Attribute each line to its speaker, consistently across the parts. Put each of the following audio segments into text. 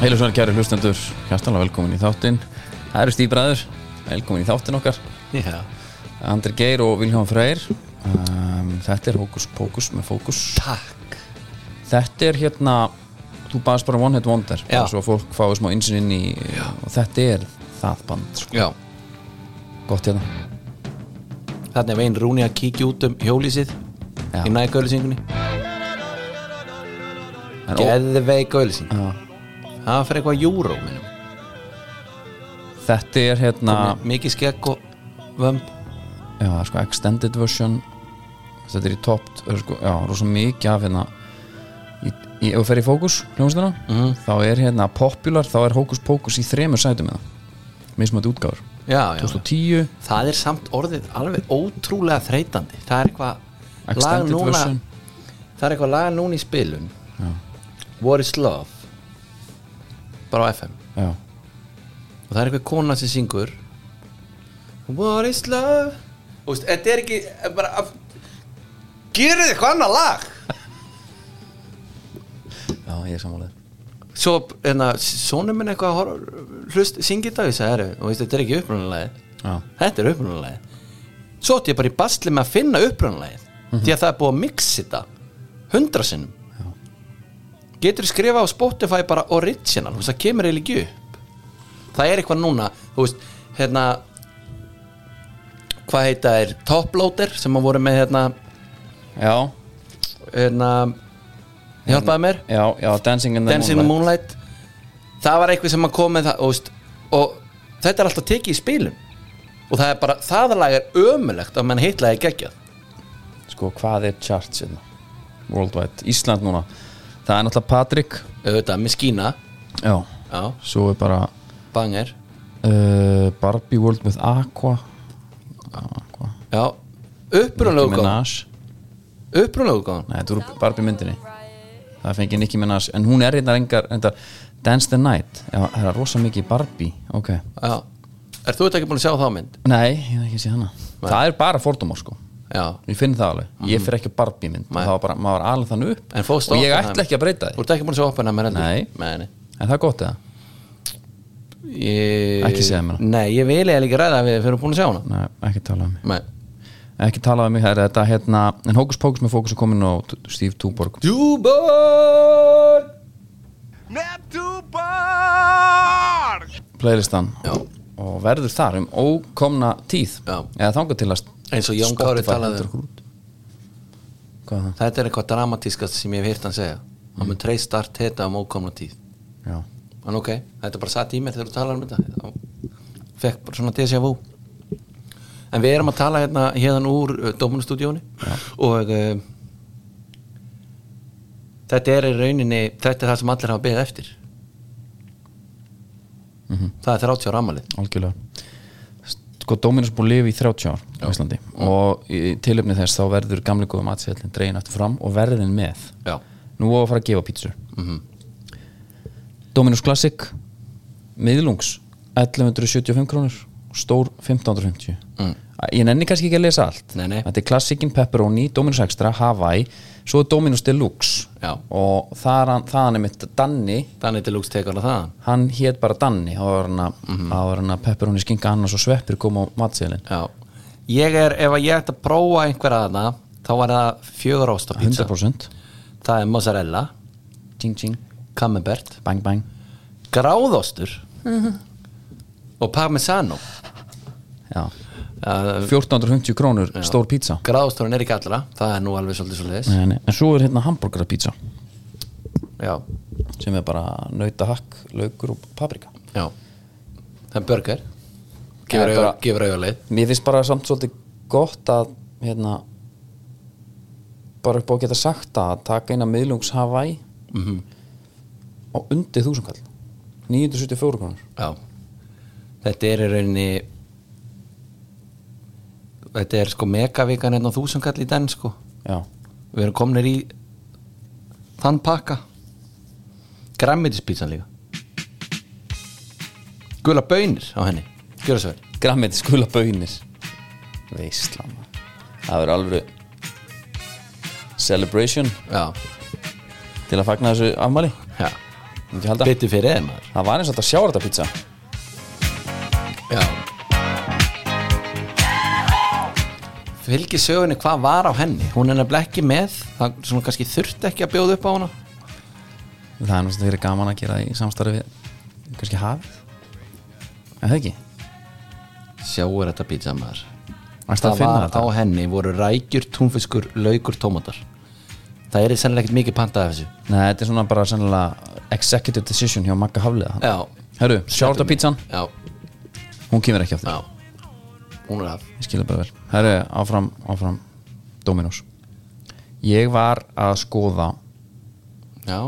Speaker 1: Heilu svar kæri hlustendur, hjartanlega velkomin í þáttinn Það eru stíbræður, velkomin í þáttinn okkar
Speaker 2: Já,
Speaker 1: Andri Geir og Vilhján Freyr um, Þetta er Hókus Pókus með Fókus
Speaker 2: takk
Speaker 1: Þetta er hérna, þú baðast bara One Hit Wonder bara
Speaker 2: Já.
Speaker 1: Svo að fólk fái smá insinn inn í Og þetta er það band, sko.
Speaker 2: Já,
Speaker 1: gott hérna
Speaker 2: þarna er veginn Rúni að kíkja út um hjólísið
Speaker 1: Já.
Speaker 2: í næg gaulisingunni
Speaker 1: En ó-
Speaker 2: Geðveik gaulising
Speaker 1: Já.
Speaker 2: Það fyrir eitthvað júró minnum
Speaker 1: Þetta er hérna,
Speaker 2: Mikið skegg og vömb
Speaker 1: já, sko, extended version Þetta er í top, sko, já, rosa mikið af hérna Í, í, ef þú fer í Fókus, hljómsdana
Speaker 2: Mhm.
Speaker 1: Þá er hérna popular, þá er Hókus Pókus í þremur sætum með það Mismandi útgáfur
Speaker 2: Já, já, já.
Speaker 1: 2010
Speaker 2: Það er samt orðið alveg ótrúlega þreytandi Það er eitthvað lag
Speaker 1: Extended
Speaker 2: núna
Speaker 1: version.
Speaker 2: Það er eitthvað lag núna í spilun já. What is love Bara á FM
Speaker 1: Já,
Speaker 2: og það er eitthvað kona sem syngur What is love og veist, þetta er ekki er bara af, gerið eitthvað annað lag
Speaker 1: já ég er sammálaður
Speaker 2: svo, enna, sonum minn eitthvað að horfa, hlust, syngi þetta og ég sagði, "Heyrðu, og veist, þetta er ekki upprunalagið
Speaker 1: Já,
Speaker 2: þetta er upprunalagið svo átti ég bara í basli með að finna upprunalagið því að það er búið að mixa þetta hundra sinnum getur skrifa á Spotify bara original, þú veist, það kemur eiginlega ekki upp það er eitthvað núna þú veist, hérna hvað heita er toploader sem að voru með hérna,
Speaker 1: já,
Speaker 2: hérna hjálpaði mér
Speaker 1: já, já Dancing in the
Speaker 2: Dancing in the Moonlight það var eitthvað sem að kom með það og, veist, og þetta er alltaf tekið í spilum og það er bara, það lag er ömulegt að menn heitlaði geggjað
Speaker 1: Sko, hvað er charts hérna? Worldwide, Ísland núna Það er náttúrulega Patrik
Speaker 2: auðvitað, Miskína,
Speaker 1: Já,
Speaker 2: já,
Speaker 1: svo er bara
Speaker 2: banger
Speaker 1: uh, Barbie World with Aqua Aqua
Speaker 2: já,
Speaker 1: Nicki
Speaker 2: upprunalegu góðan
Speaker 1: Minaj
Speaker 2: upprunalegu góðan,
Speaker 1: Nei, þetta eru Barbie myndinni Það fengi Nicki Minaj En hún er hérna engar, engar Dance the Night Já, það er rosa mikið Barbie Ok
Speaker 2: já er þú þetta ekki búin að sjá þá mynd?
Speaker 1: Nei, ég hef ekki séð hana Það er bara fordómar sko
Speaker 2: já,
Speaker 1: Ég finn það alveg, ég fyrir ekki á Barbie mynd
Speaker 2: Mhm. Nei.
Speaker 1: það var bara, maður var alveg þannig upp
Speaker 2: En fórstu
Speaker 1: og ég
Speaker 2: á
Speaker 1: ætla
Speaker 2: Oppenheimer?
Speaker 1: ekki að breyta
Speaker 2: þú
Speaker 1: því
Speaker 2: ert ekki búin að sjá opana með
Speaker 1: Nei.
Speaker 2: nei, nei.
Speaker 1: en það er gott eða?
Speaker 2: Ég...
Speaker 1: Ekki segja mér það.
Speaker 2: nei, ég vil eiginlega ekki ræða við fyrir búin að sjá hana
Speaker 1: Nei, ekki tala um mig
Speaker 2: nei.
Speaker 1: ekki tala um mig, það er þetta hérna en Hókus Pókus með Fókus er komin á T- Steve Tuborg
Speaker 2: Djúborg
Speaker 1: playlistan
Speaker 2: Já.
Speaker 1: og verður þar um ókomna tíð
Speaker 2: Já.
Speaker 1: eða þangað til að
Speaker 2: eins og Jón Kári
Speaker 1: Spotify
Speaker 2: talaði
Speaker 1: hendur
Speaker 2: um
Speaker 1: okkur út. hvað er það?
Speaker 2: Þetta er eitthvað dramatískast sem ég hef hýrt hann segja hann mun treyst start þetta um ókomna tíð
Speaker 1: Já.
Speaker 2: en ok, þetta bara satt í mér þegar þú talar um þetta Þá fekk bara svona déjà vu en við erum að tala hérna hérna úr Dómunustúdíóni og uh, þetta er í rauninni þetta er það sem allir hafa beðið eftir það er 30 ára ammalið
Speaker 1: algjörlega sko Dominus búið að lifa í 30 ár á Íslandi og í tilöfni þess þá verður gamli góða matsveðlinn dregin aftur fram og verðin með
Speaker 2: Já.
Speaker 1: nú á að fara að gefa pítsur
Speaker 2: Mhm,
Speaker 1: Dominus Classic miðlungs 1175 krónur stór 1550
Speaker 2: mhm.
Speaker 1: mm. ég nenni kannski ekki að lesa allt
Speaker 2: Nei, nei.
Speaker 1: þetta er Classicin Pepperoni, Dominus Extra, Hawaii svo er Dominus Deluxe
Speaker 2: Já.
Speaker 1: og þaðan, þaðan er mitt Danni
Speaker 2: þannig til lúks tekar það þaðan
Speaker 1: hann hétt bara Danni þá var hann að mm -hmm. pepperoni skinka annars og sveppir kom á matsælin
Speaker 2: Já. ég er, ef að ég ætti að prófa einhverja þarna, þá var það fjögur ásta pizza
Speaker 1: 100%
Speaker 2: það er mozzarella,
Speaker 1: ching ching,
Speaker 2: camembert
Speaker 1: bang bang
Speaker 2: gráðostur og parmesano
Speaker 1: Já.
Speaker 2: uh,
Speaker 1: 1450 krónur stór pizza
Speaker 2: gráðosturinn er ekki allra, það er nú alveg svolítið svo leiðis
Speaker 1: Nei, nei. en svo er hérna hamburgerapizza
Speaker 2: já,
Speaker 1: sem er bara nautahakk, laukur og paprika
Speaker 2: já það er burger
Speaker 1: Það
Speaker 2: gefur
Speaker 1: er
Speaker 2: auga-
Speaker 1: bara-
Speaker 2: gefur auðalið
Speaker 1: mér finnst bara samt svolítið gott að hérna bara upp á að geta sagt það, að taka eina miðlungs Hawaii og undir þúsundkall 974 krónur
Speaker 2: já þetta er í rauninni þetta er sko megavikan hérna þúsungall í den sko
Speaker 1: Já.
Speaker 2: við erum komnir í þann pakka græmitispítsan líka Gula bönir á henni Gjöra svo vel
Speaker 1: Grammit skula bönir Veislama Það verður alveg Celebration
Speaker 2: Já,
Speaker 1: til að fagna þessu afmæli
Speaker 2: já
Speaker 1: Myndi ég halda.
Speaker 2: Betur fyrir þeim maður
Speaker 1: Það var eins og þetta sjávartapizza
Speaker 2: Já Fylgi sögunni hvað var á henni Hún er nefnilega ekki með Það svona kannski þurfti ekki að bjóða upp á hana
Speaker 1: Það er nú sem þetta verið gaman að gera í samstarfi við kannski hafið En það ekki
Speaker 2: Sjáur þetta pizza maður
Speaker 1: Varstu að
Speaker 2: Það
Speaker 1: finna
Speaker 2: var
Speaker 1: þetta?
Speaker 2: á henni voru rækjur, túnfiskur, laukur, tómatar Það er sennilega ekkert mikið pantað af þessu
Speaker 1: Nei, þetta er svona bara sennilega executive decision hjá Magga Hafliða
Speaker 2: Já,
Speaker 1: Herru, sjávartapizzan,
Speaker 2: já,
Speaker 1: hún kemur ekki aftur
Speaker 2: já Hún er af
Speaker 1: Ég skilja bara vel Herru, áfram, áfram Dominos Ég var að skoða
Speaker 2: Já,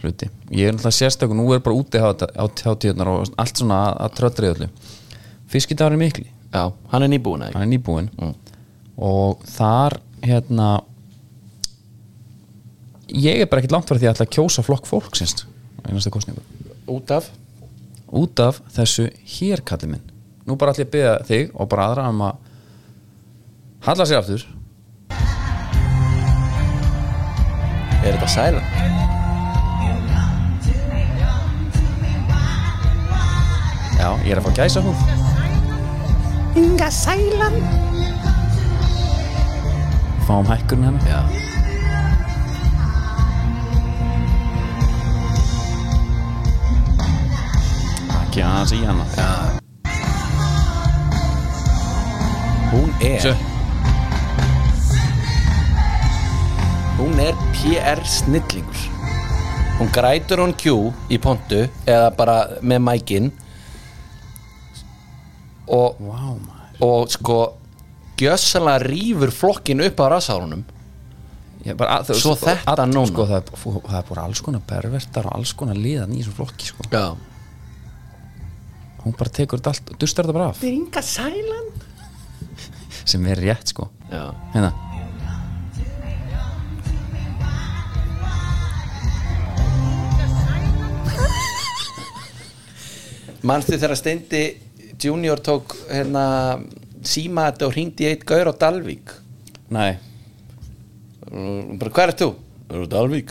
Speaker 1: hluti ég er náttúrulega sérstakun, nú er bara úti á tíðunar og allt svona að, að tröttri öllu fiskidagur er mikli,
Speaker 2: já, hann er nýbúin eða ekki?
Speaker 1: hann er nýbúinn
Speaker 2: Mm.
Speaker 1: og þar hérna ég er bara ekkert langt fyrir því að ætla að kjósa flokk fólksins á einasta kostningu
Speaker 2: Út af
Speaker 1: út af þessu hér kallið minn nú bara ætla ég að beða þig og bara aðra um að halla sér aftur
Speaker 2: Er þetta sæla?
Speaker 1: já, ég er að fá gæsa hún
Speaker 3: Inga Sæland
Speaker 1: fáum hérna. hækkurinn hennar
Speaker 2: Já
Speaker 1: ekki aðeins í hennar
Speaker 2: Hún er
Speaker 1: Sjö.
Speaker 2: Hún er PR snillingur Hún grætur hún Q í pontu eða bara með mækin og,
Speaker 1: wow, maður.
Speaker 2: og sko gjössalega rýfur flokkin upp á rasárunum
Speaker 1: Ég bara, að,
Speaker 2: Svo
Speaker 1: sko,
Speaker 2: þetta
Speaker 1: að-
Speaker 2: núna.
Speaker 1: sko, það, er- fú, það er bara alls konar pervertar og alls konar liðan í þessum flokki sko.
Speaker 2: Já
Speaker 1: hún bara tekur þetta allt og dustar þetta bara af
Speaker 3: Inga Sæland
Speaker 1: sem er rétt sko
Speaker 2: Já
Speaker 1: hérna
Speaker 2: Manstu þegar Steindi Junior tók hérna síma þetta og hringdi í eitt gaur á Dalvík
Speaker 1: Nei.
Speaker 2: Og bara hvað er þú? Er þú Dalvík?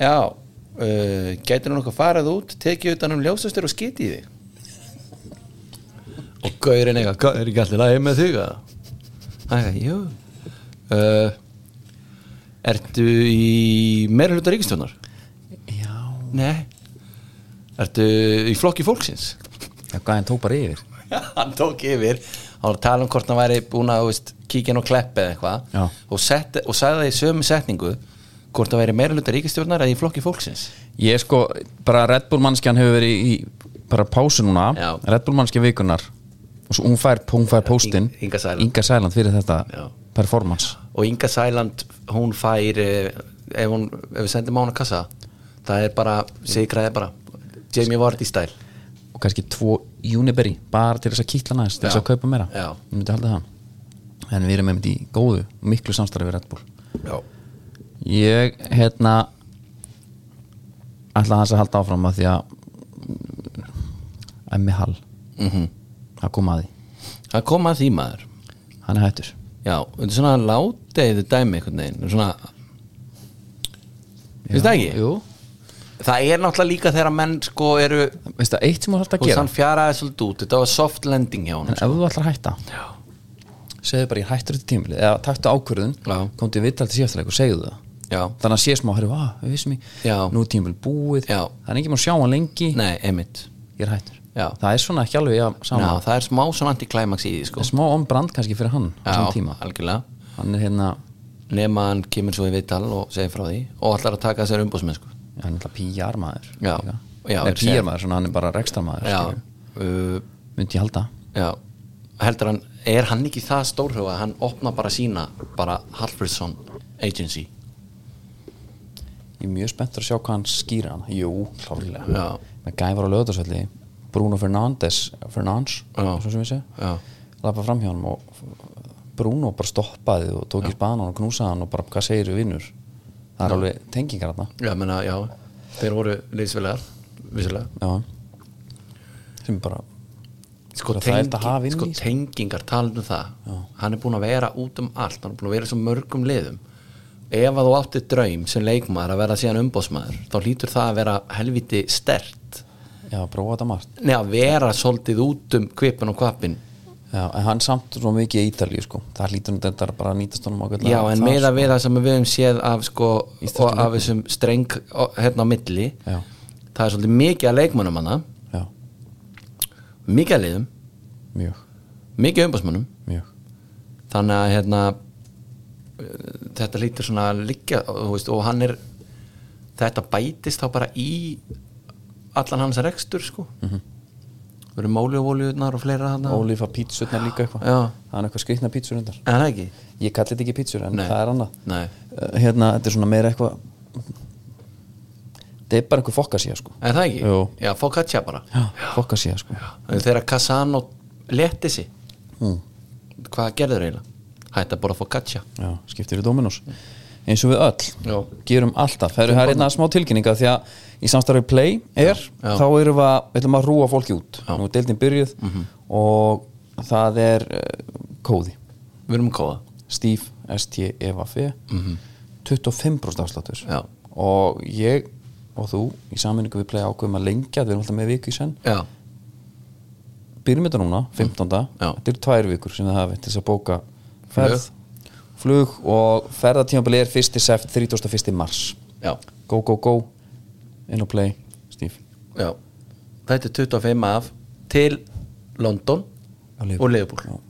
Speaker 2: Já uh, Gætir hún okkur farað út, tekið utan um ljósastur og skiti í þig Og gaurinn eitthvað "Hvað, Er ekki allir lagi með þig að? Það jú uh, Ertu í meira hluta ríkistjónar?
Speaker 1: já
Speaker 2: Nei Ertu í flokki fólksins?
Speaker 1: það gæðin tók bara yfir
Speaker 2: hann tók yfir hann var að tala um hvort hann væri búin að þú veist, kíkja nú klepp
Speaker 1: Já.
Speaker 2: eða eitthvað og, sett- og sagði það í sömu setningu hvort það væri meira hluta ríkistjórnar eða í flokki fólksins
Speaker 1: ég sko bara Red Bull mannskjan hefur verið í bara pásu núna
Speaker 2: Já.
Speaker 1: Red Bull mannskjan vikunar og svo hún fær, hún fær póstinn
Speaker 2: Ing- Inga Sæland.
Speaker 1: Inga Sæland fyrir þetta
Speaker 2: Já.
Speaker 1: performance
Speaker 2: og Inga Sæland hún fær eh, ef, hún, ef við sendum á hana kassa það er bara, sigraði bara Jamie Vardy stæl
Speaker 1: og kannski tvo Uniberi bara til þess að kýtla næst til þess
Speaker 2: Já.
Speaker 1: að kaupa meira
Speaker 2: Já.
Speaker 1: ég myndi halda það en við erum einmitt í góðu miklu samstarfi við Red Bull
Speaker 2: Já.
Speaker 1: ég hérna ætla hans að halda áfram að því að Emmi Hall
Speaker 2: Mm
Speaker 1: að koma að því
Speaker 2: það kom að því maður
Speaker 1: hann er hættur
Speaker 2: Já, þetta er svona láteiðu dæmi einhvern veginn svona, Finnst það ekki?
Speaker 1: Jú.
Speaker 2: það er náttúrulega líka þegar að menn sko eru
Speaker 1: veistu það eitt sem hún er alltaf
Speaker 2: og
Speaker 1: að gera
Speaker 2: þann fjaraði svolítið út þetta var soft landing hjá
Speaker 1: en
Speaker 2: hann
Speaker 1: ef þú ætlar að hætta
Speaker 2: Já.
Speaker 1: segðu bara ég er hættur þetta tímli eða taktu ákvörðun
Speaker 2: Já.
Speaker 1: komdu í vital til síðastaleg og segðu það
Speaker 2: Já.
Speaker 1: þannig að sé smá, herru, að, við vissum í
Speaker 2: Já.
Speaker 1: nú er tímil búið,
Speaker 2: Já.
Speaker 1: það er ekki má sjá hann lengi
Speaker 2: Nei, einmitt
Speaker 1: ég er hættur
Speaker 2: Já.
Speaker 1: það er svona ekki alveg að sama
Speaker 2: Ná, það er smá svona antiklæmaks í því sko.
Speaker 1: það er smá ombrand kannski fyrir hann á
Speaker 2: Já,
Speaker 1: saman tíma
Speaker 2: algjörlega
Speaker 1: hann er hérna,
Speaker 2: nema hann kemur svo í viðtal og segir frá því og allar að taka þessar umbúsmenn sko.
Speaker 1: hann er alltaf PR maður
Speaker 2: Já.
Speaker 1: líka.
Speaker 2: Já,
Speaker 1: Nei,
Speaker 2: ég segi.
Speaker 1: PR maður, svona hann er bara rekstra
Speaker 2: Já,
Speaker 1: maður
Speaker 2: uh,
Speaker 1: myndi ég halda
Speaker 2: já heldur hann, er hann ekki það stórhuga að hann opna bara sína bara Halfridsson Agency
Speaker 1: ég er mjög spenntur að sjá hvað hann skýra hann jú, klárlega
Speaker 2: Já.
Speaker 1: með gæfar á löðarsvelli Bruno Fernandes Fernandes,
Speaker 2: Já.
Speaker 1: svo sem ég segi
Speaker 2: Já,
Speaker 1: lappa fram hjá hann og Bruno bara stoppaði og tók í spanan og knúsaði hann og bara hvað segir við vinnur það er alveg tengingar hann
Speaker 2: já, menna, já þeir voru liðsfélagar, vissulega
Speaker 1: Já sem bara
Speaker 2: sko,
Speaker 1: Það er
Speaker 2: tengi,
Speaker 1: þetta að hafa inn
Speaker 2: sko
Speaker 1: í, sko.
Speaker 2: tengingar talandi um það hann er búin að vera út um allt hann er búin að vera í svo mörgum liðum ef að þú átti draum sem leikmaður að vera síðan umbóðsmaður þá lítur það að vera helviti stert
Speaker 1: já, prófa þetta margt
Speaker 2: neða að vera svolítið út um kvipin og kvapin
Speaker 1: já, en hann samt svo mikið í Ítalíu sko. það hlýtur um þetta bara að nýtast honum ágætlega
Speaker 2: já en
Speaker 1: þar,
Speaker 2: meða við það sem við höfum séð af sko
Speaker 1: Íslenskum
Speaker 2: og af þessum streng og- hérna á milli
Speaker 1: sko. já,
Speaker 2: það er svolítið mikið að leikmannum hana
Speaker 1: já,
Speaker 2: mikið að liðum,
Speaker 1: mjög,
Speaker 2: mikið umbóðsmannum
Speaker 1: mjög
Speaker 2: þannig að hérna eh, þetta lítur svona að liggja þú veist, og hann er þetta bætist þá bara í allan hans rekstur sko mm
Speaker 1: Mhm.
Speaker 2: -hmm. það eru máli og og fleira hann
Speaker 1: ólífa pítsurnar líka eitthvað
Speaker 2: Já.
Speaker 1: það er eitthvað skrikna pítsur undar
Speaker 2: en það ekki
Speaker 1: ég kalli þetta ekki pítsur en
Speaker 2: Nei.
Speaker 1: það er annað
Speaker 2: Nei.
Speaker 1: Eh, hérna, þetta er svona meira eitthvað þetta er bara eitthvað fokkasíja sko.
Speaker 2: en það ekki,
Speaker 1: Jú.
Speaker 2: já, fókatja bara
Speaker 1: Já, fokkasíja sko.
Speaker 2: En þegar Casano leti sig
Speaker 1: Hm.
Speaker 2: hvað gerður eiginlega hætti að bora fókatja
Speaker 1: Já, skiptir í Dominos eins og við öll,
Speaker 2: Já.
Speaker 1: gerum alltaf það eru hér einna smá tilkynninga því að í samstarfi Play er,
Speaker 2: Já.
Speaker 1: þá erum við að, við ætlum að rúa fólki út já. nú er deildin byrjuð
Speaker 2: Mhm.
Speaker 1: og það er uh, kóði
Speaker 2: við erum að kóða
Speaker 1: Steve STEVAF mm -hmm. 25% afsláttur
Speaker 2: Mhm. Já.
Speaker 1: og ég og þú í sammenningu við Play ákveðum að lengja við erum alltaf með viku í senn
Speaker 2: já,
Speaker 1: byrjum þetta núna, 15.
Speaker 2: Mhm. Já.
Speaker 1: þetta eru tvær vikur sem það hafi til þess að bóka ferð, flug og ferðatímabili er 1. seft 31. mars
Speaker 2: já,
Speaker 1: go go go, inn og play Steve,
Speaker 2: já þetta er 25 af til London
Speaker 1: Á Liverpool.
Speaker 2: og Leifbúl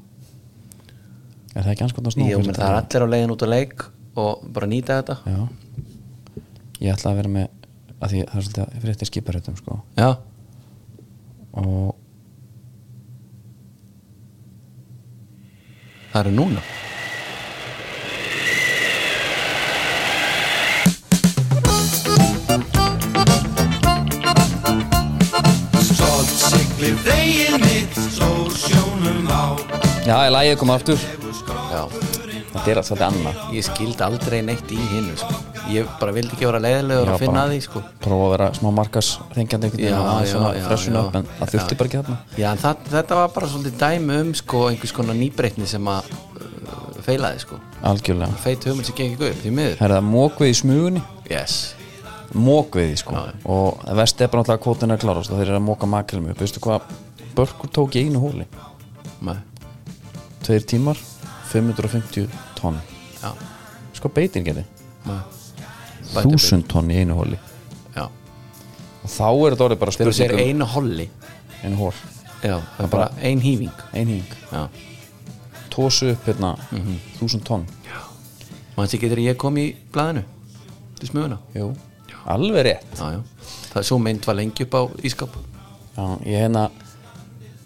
Speaker 1: er það ekki anskotnast nú?
Speaker 2: Jú, menn
Speaker 1: fyrir
Speaker 2: það er
Speaker 1: þetta?
Speaker 2: allir á leiðin út á leik og bara nýta þetta
Speaker 1: Já. ég ætla að vera með að því það er svolítið að fyrir þetta skiparhættum sko.
Speaker 2: Já,
Speaker 1: og
Speaker 2: það eru núna
Speaker 4: Stolt siglir veginn mitt, stór sjónum á
Speaker 1: já, ég lægið koma aftur
Speaker 2: Já,
Speaker 1: þetta er alltaf þetta annað
Speaker 2: ég skildi aldrei neitt í hinu sko. Ég bara vildi ekki vera leiðilegur
Speaker 1: Já,
Speaker 2: að finna
Speaker 1: bara-
Speaker 2: að því sko.
Speaker 1: prófa að vera smá markas þengjandi einhvern
Speaker 2: Já,
Speaker 1: veginn og
Speaker 2: já, já,
Speaker 1: svona freshun
Speaker 2: já.
Speaker 1: upp en það þurfti
Speaker 2: Já.
Speaker 1: bara ekki þarna
Speaker 2: Já, en það, þetta var bara svolítið dæmi um sko, einhvers konar nýbreytni sem að uh, feilaði sko.
Speaker 1: algjörlega,
Speaker 2: Feit hugmynd sem gengið upp, því miður
Speaker 1: það er það mókvið í smugunni
Speaker 2: Yes,
Speaker 1: mókveiði sko
Speaker 2: Já, já.
Speaker 1: og vest er bara náttúrulega að kvótin er að klárast og þeir eru að móka makrilmi upp, veistu hvað börkur tók í einu hóli,
Speaker 2: maður
Speaker 1: tveir tímar 550 tonn
Speaker 2: Já,
Speaker 1: sko beitin gerði,
Speaker 2: maður
Speaker 1: 1000 tonn í einu hóli
Speaker 2: Já,
Speaker 1: og þá er þetta orðið bara um
Speaker 2: þegar þú segir
Speaker 1: spurningum
Speaker 2: einu holli
Speaker 1: einu hól,
Speaker 2: Já, það er bara ein hýfing
Speaker 1: einhing
Speaker 2: Já
Speaker 1: tósu upp hérna
Speaker 2: Mhm.
Speaker 1: 1000 tonn,
Speaker 2: Manstu ekki þegar ég kom í blaðinu til smuguna
Speaker 1: jú, alveg rétt
Speaker 2: já, já. Það er svo mynd var lengi upp á ískap
Speaker 1: Já, ég hérna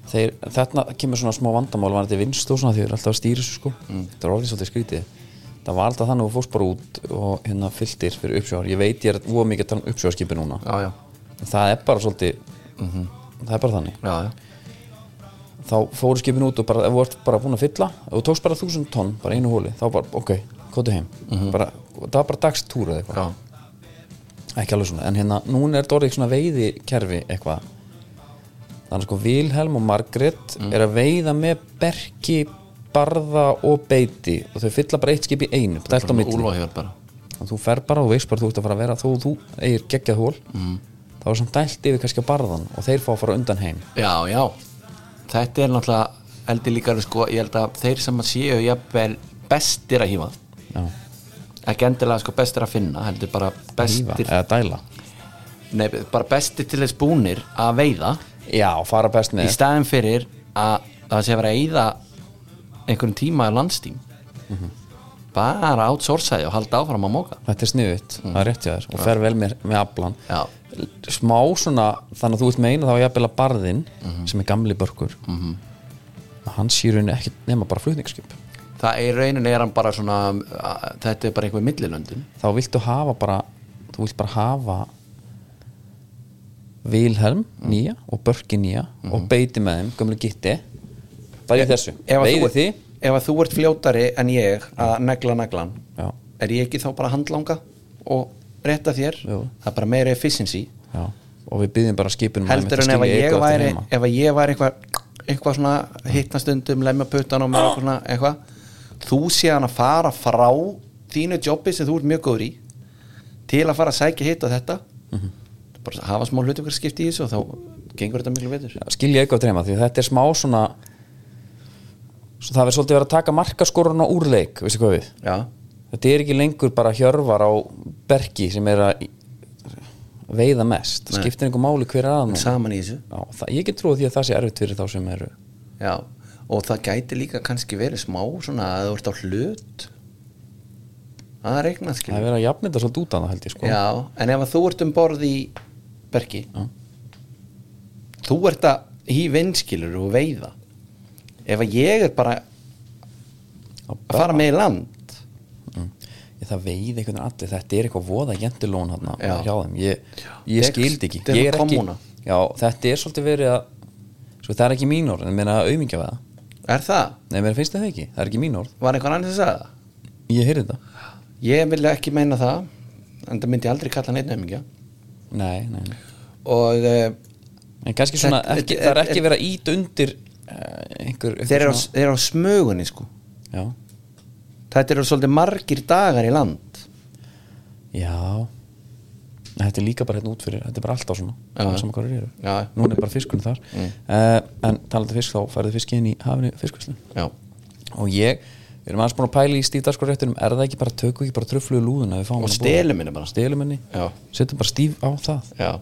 Speaker 1: þeir, þarna kemur svona smá vandamál var þetta vinst og svona því þeir eru alltaf að stýra þessu sko þetta var orðið svolítið skrítið það var alltaf þannig að þú fórst bara út og hérna fylltir fyrir uppsjóðar, ég veit ég er óa mikið að tala um uppsjóðarskipi núna
Speaker 2: Já, já,
Speaker 1: en það er bara svolítið það er bara þannig,
Speaker 2: já, já.
Speaker 1: þá fóru skipin út og bara, ef þú ert bara búin að fylla ef þú tókst bara 1000 tonn, bara einu hóli þá bara, ok, kóti heim bara, það var bara dagstúr eða eitthvað
Speaker 2: já.
Speaker 1: ekki alveg svona, en hérna núna er þetta orðið svona veiðikerfi eitthvað þannig að sko Vilhelm og Margrét
Speaker 2: Mm.
Speaker 1: er að veiða með berki barða og beiti og þau fylla bara eitt skip í einu dælt á milli,
Speaker 2: Úlfahjörn bara
Speaker 1: og þú fer bara og veist bara þú ert að fara að vera þó þú eigir geggjað hól mm. þá er samt dælt yfir kannski að barðan og þeir fá að fara undan heim
Speaker 2: Já, já Þetta er náttúrulega eldi líka sko, ég held að þeir sem að séu jafnvel bestir að hýfa
Speaker 1: Já,
Speaker 2: ekki endilega sko bestir að finna heldur bara
Speaker 1: hýfa,
Speaker 2: bestir
Speaker 1: eða dæla
Speaker 2: nei, bara bestir til þess búnir að veiða
Speaker 1: Já, fara best
Speaker 2: í
Speaker 1: með
Speaker 2: staðin fyrir að það sé að vera að eyða einhvern tíma í landstím Mhm. bara outsourcaði og halda áfram að móka
Speaker 1: Þetta er sniðut,
Speaker 2: Mm.
Speaker 1: það er rétt hjá þér og fer vel með, með aflan
Speaker 2: Já.
Speaker 1: smá svona, þannig að þú ert meina þá er jafnvel að barðinn,
Speaker 2: Mhm.
Speaker 1: sem er gamli börkur mm -hmm. hann sýr henni ekki nema bara flutningsskip
Speaker 2: það er í rauninni er hann bara svona að, þetta er bara einhver millilöndun
Speaker 1: þá viltu hafa bara þú vilt bara hafa Vilhelm
Speaker 2: Mhm.
Speaker 1: nýja og börki nýja og beiti með þeim, gömlu gitti bara í þessu, veiði því
Speaker 2: ef að þú ert fljótari en ég að negla neglan
Speaker 1: Já.
Speaker 2: er ég ekki þá bara handlanga og rétta þér
Speaker 1: Jú.
Speaker 2: það er bara meira efficiency
Speaker 1: Já. og við byggjum bara um skipunum
Speaker 2: heldur en ef að Mm, ég væri ef að ég væri eitthvað eitthvað svona hittna stundum, lemja puttan og mér svona eitthvað þú séðan að fara frá þínu jobbi sem þú ert mjög góður í til að fara að sækja hitt og þetta bara að hafa smá hlutverkarskipti í þessu og þá gengur þetta miklu betur
Speaker 1: skilja eitthvað treyma því að þetta er smá svona svo það er svolítið verið að taka markaskorun á úrleik, veistu hvað við
Speaker 2: já,
Speaker 1: þetta er ekki lengur bara hjörvar á bergi sem er að veiða mest,
Speaker 2: Nei.
Speaker 1: skiptir einhver máli hver er að nú
Speaker 2: saman í þessu
Speaker 1: Já, það, ég get trúið því að það sé erfitt fyrir þá sem eru
Speaker 2: já, og það gæti líka kannski verið smá svona að þú ert á hlut að regna skilur
Speaker 1: það er verið að jafna þetta svolítið út annað held ég sko
Speaker 2: Já, en ef að þú ert um borð í bergi þú ert að hí vinskilur og veiða ef að ég er bara að fara með í land
Speaker 1: ég, það veið einhvern veginn allir, þetta er eitthvað voða jentulón hann
Speaker 2: Já.
Speaker 1: hjá þeim ég, ég
Speaker 2: Þetta er-
Speaker 1: skildi ekki,
Speaker 2: þetta er
Speaker 1: ég er ekki
Speaker 2: kommúna.
Speaker 1: já, þetta er svolítið verið að sko, það er ekki mín orð, en ég meina auðmingja við það
Speaker 2: er það?
Speaker 1: nei, mér finnst það ekki, það er ekki mín orð
Speaker 2: Var einhvern annars að sagði það?
Speaker 1: ég heyrði þetta,
Speaker 2: Ég vilja ekki meina það en það myndi ég aldrei kalla neitt nefningja
Speaker 1: nei, nei, nei.
Speaker 2: og uh,
Speaker 1: en kannski svona,
Speaker 2: Þetta-
Speaker 1: ekki,
Speaker 2: þetta-
Speaker 1: það er
Speaker 2: þetta-
Speaker 1: ekki verið að ít undir eh, einhver, einhver
Speaker 2: þeir, eru á, þeir eru á smugunni sko
Speaker 1: já,
Speaker 2: þetta eru svolítið margir dagar í land
Speaker 1: já En þetta er líka bara hérna út fyrir, þetta er bara alltaf svona
Speaker 2: Já.
Speaker 1: saman hvað þeir eru,
Speaker 2: Já.
Speaker 1: núna er bara fiskunum þar mm. en talandi fisk þá færðu fiski inn í hafinu fiskvislu
Speaker 2: Já,
Speaker 1: og ég, við erum aðeins búin að pæla í stífdagskorréttunum er það ekki bara, tökum við ekki bara tröfluðu lúðuna
Speaker 2: Og stelum henni bara.
Speaker 1: stelum henni,
Speaker 2: Já.
Speaker 1: setjum bara stíf á það
Speaker 2: já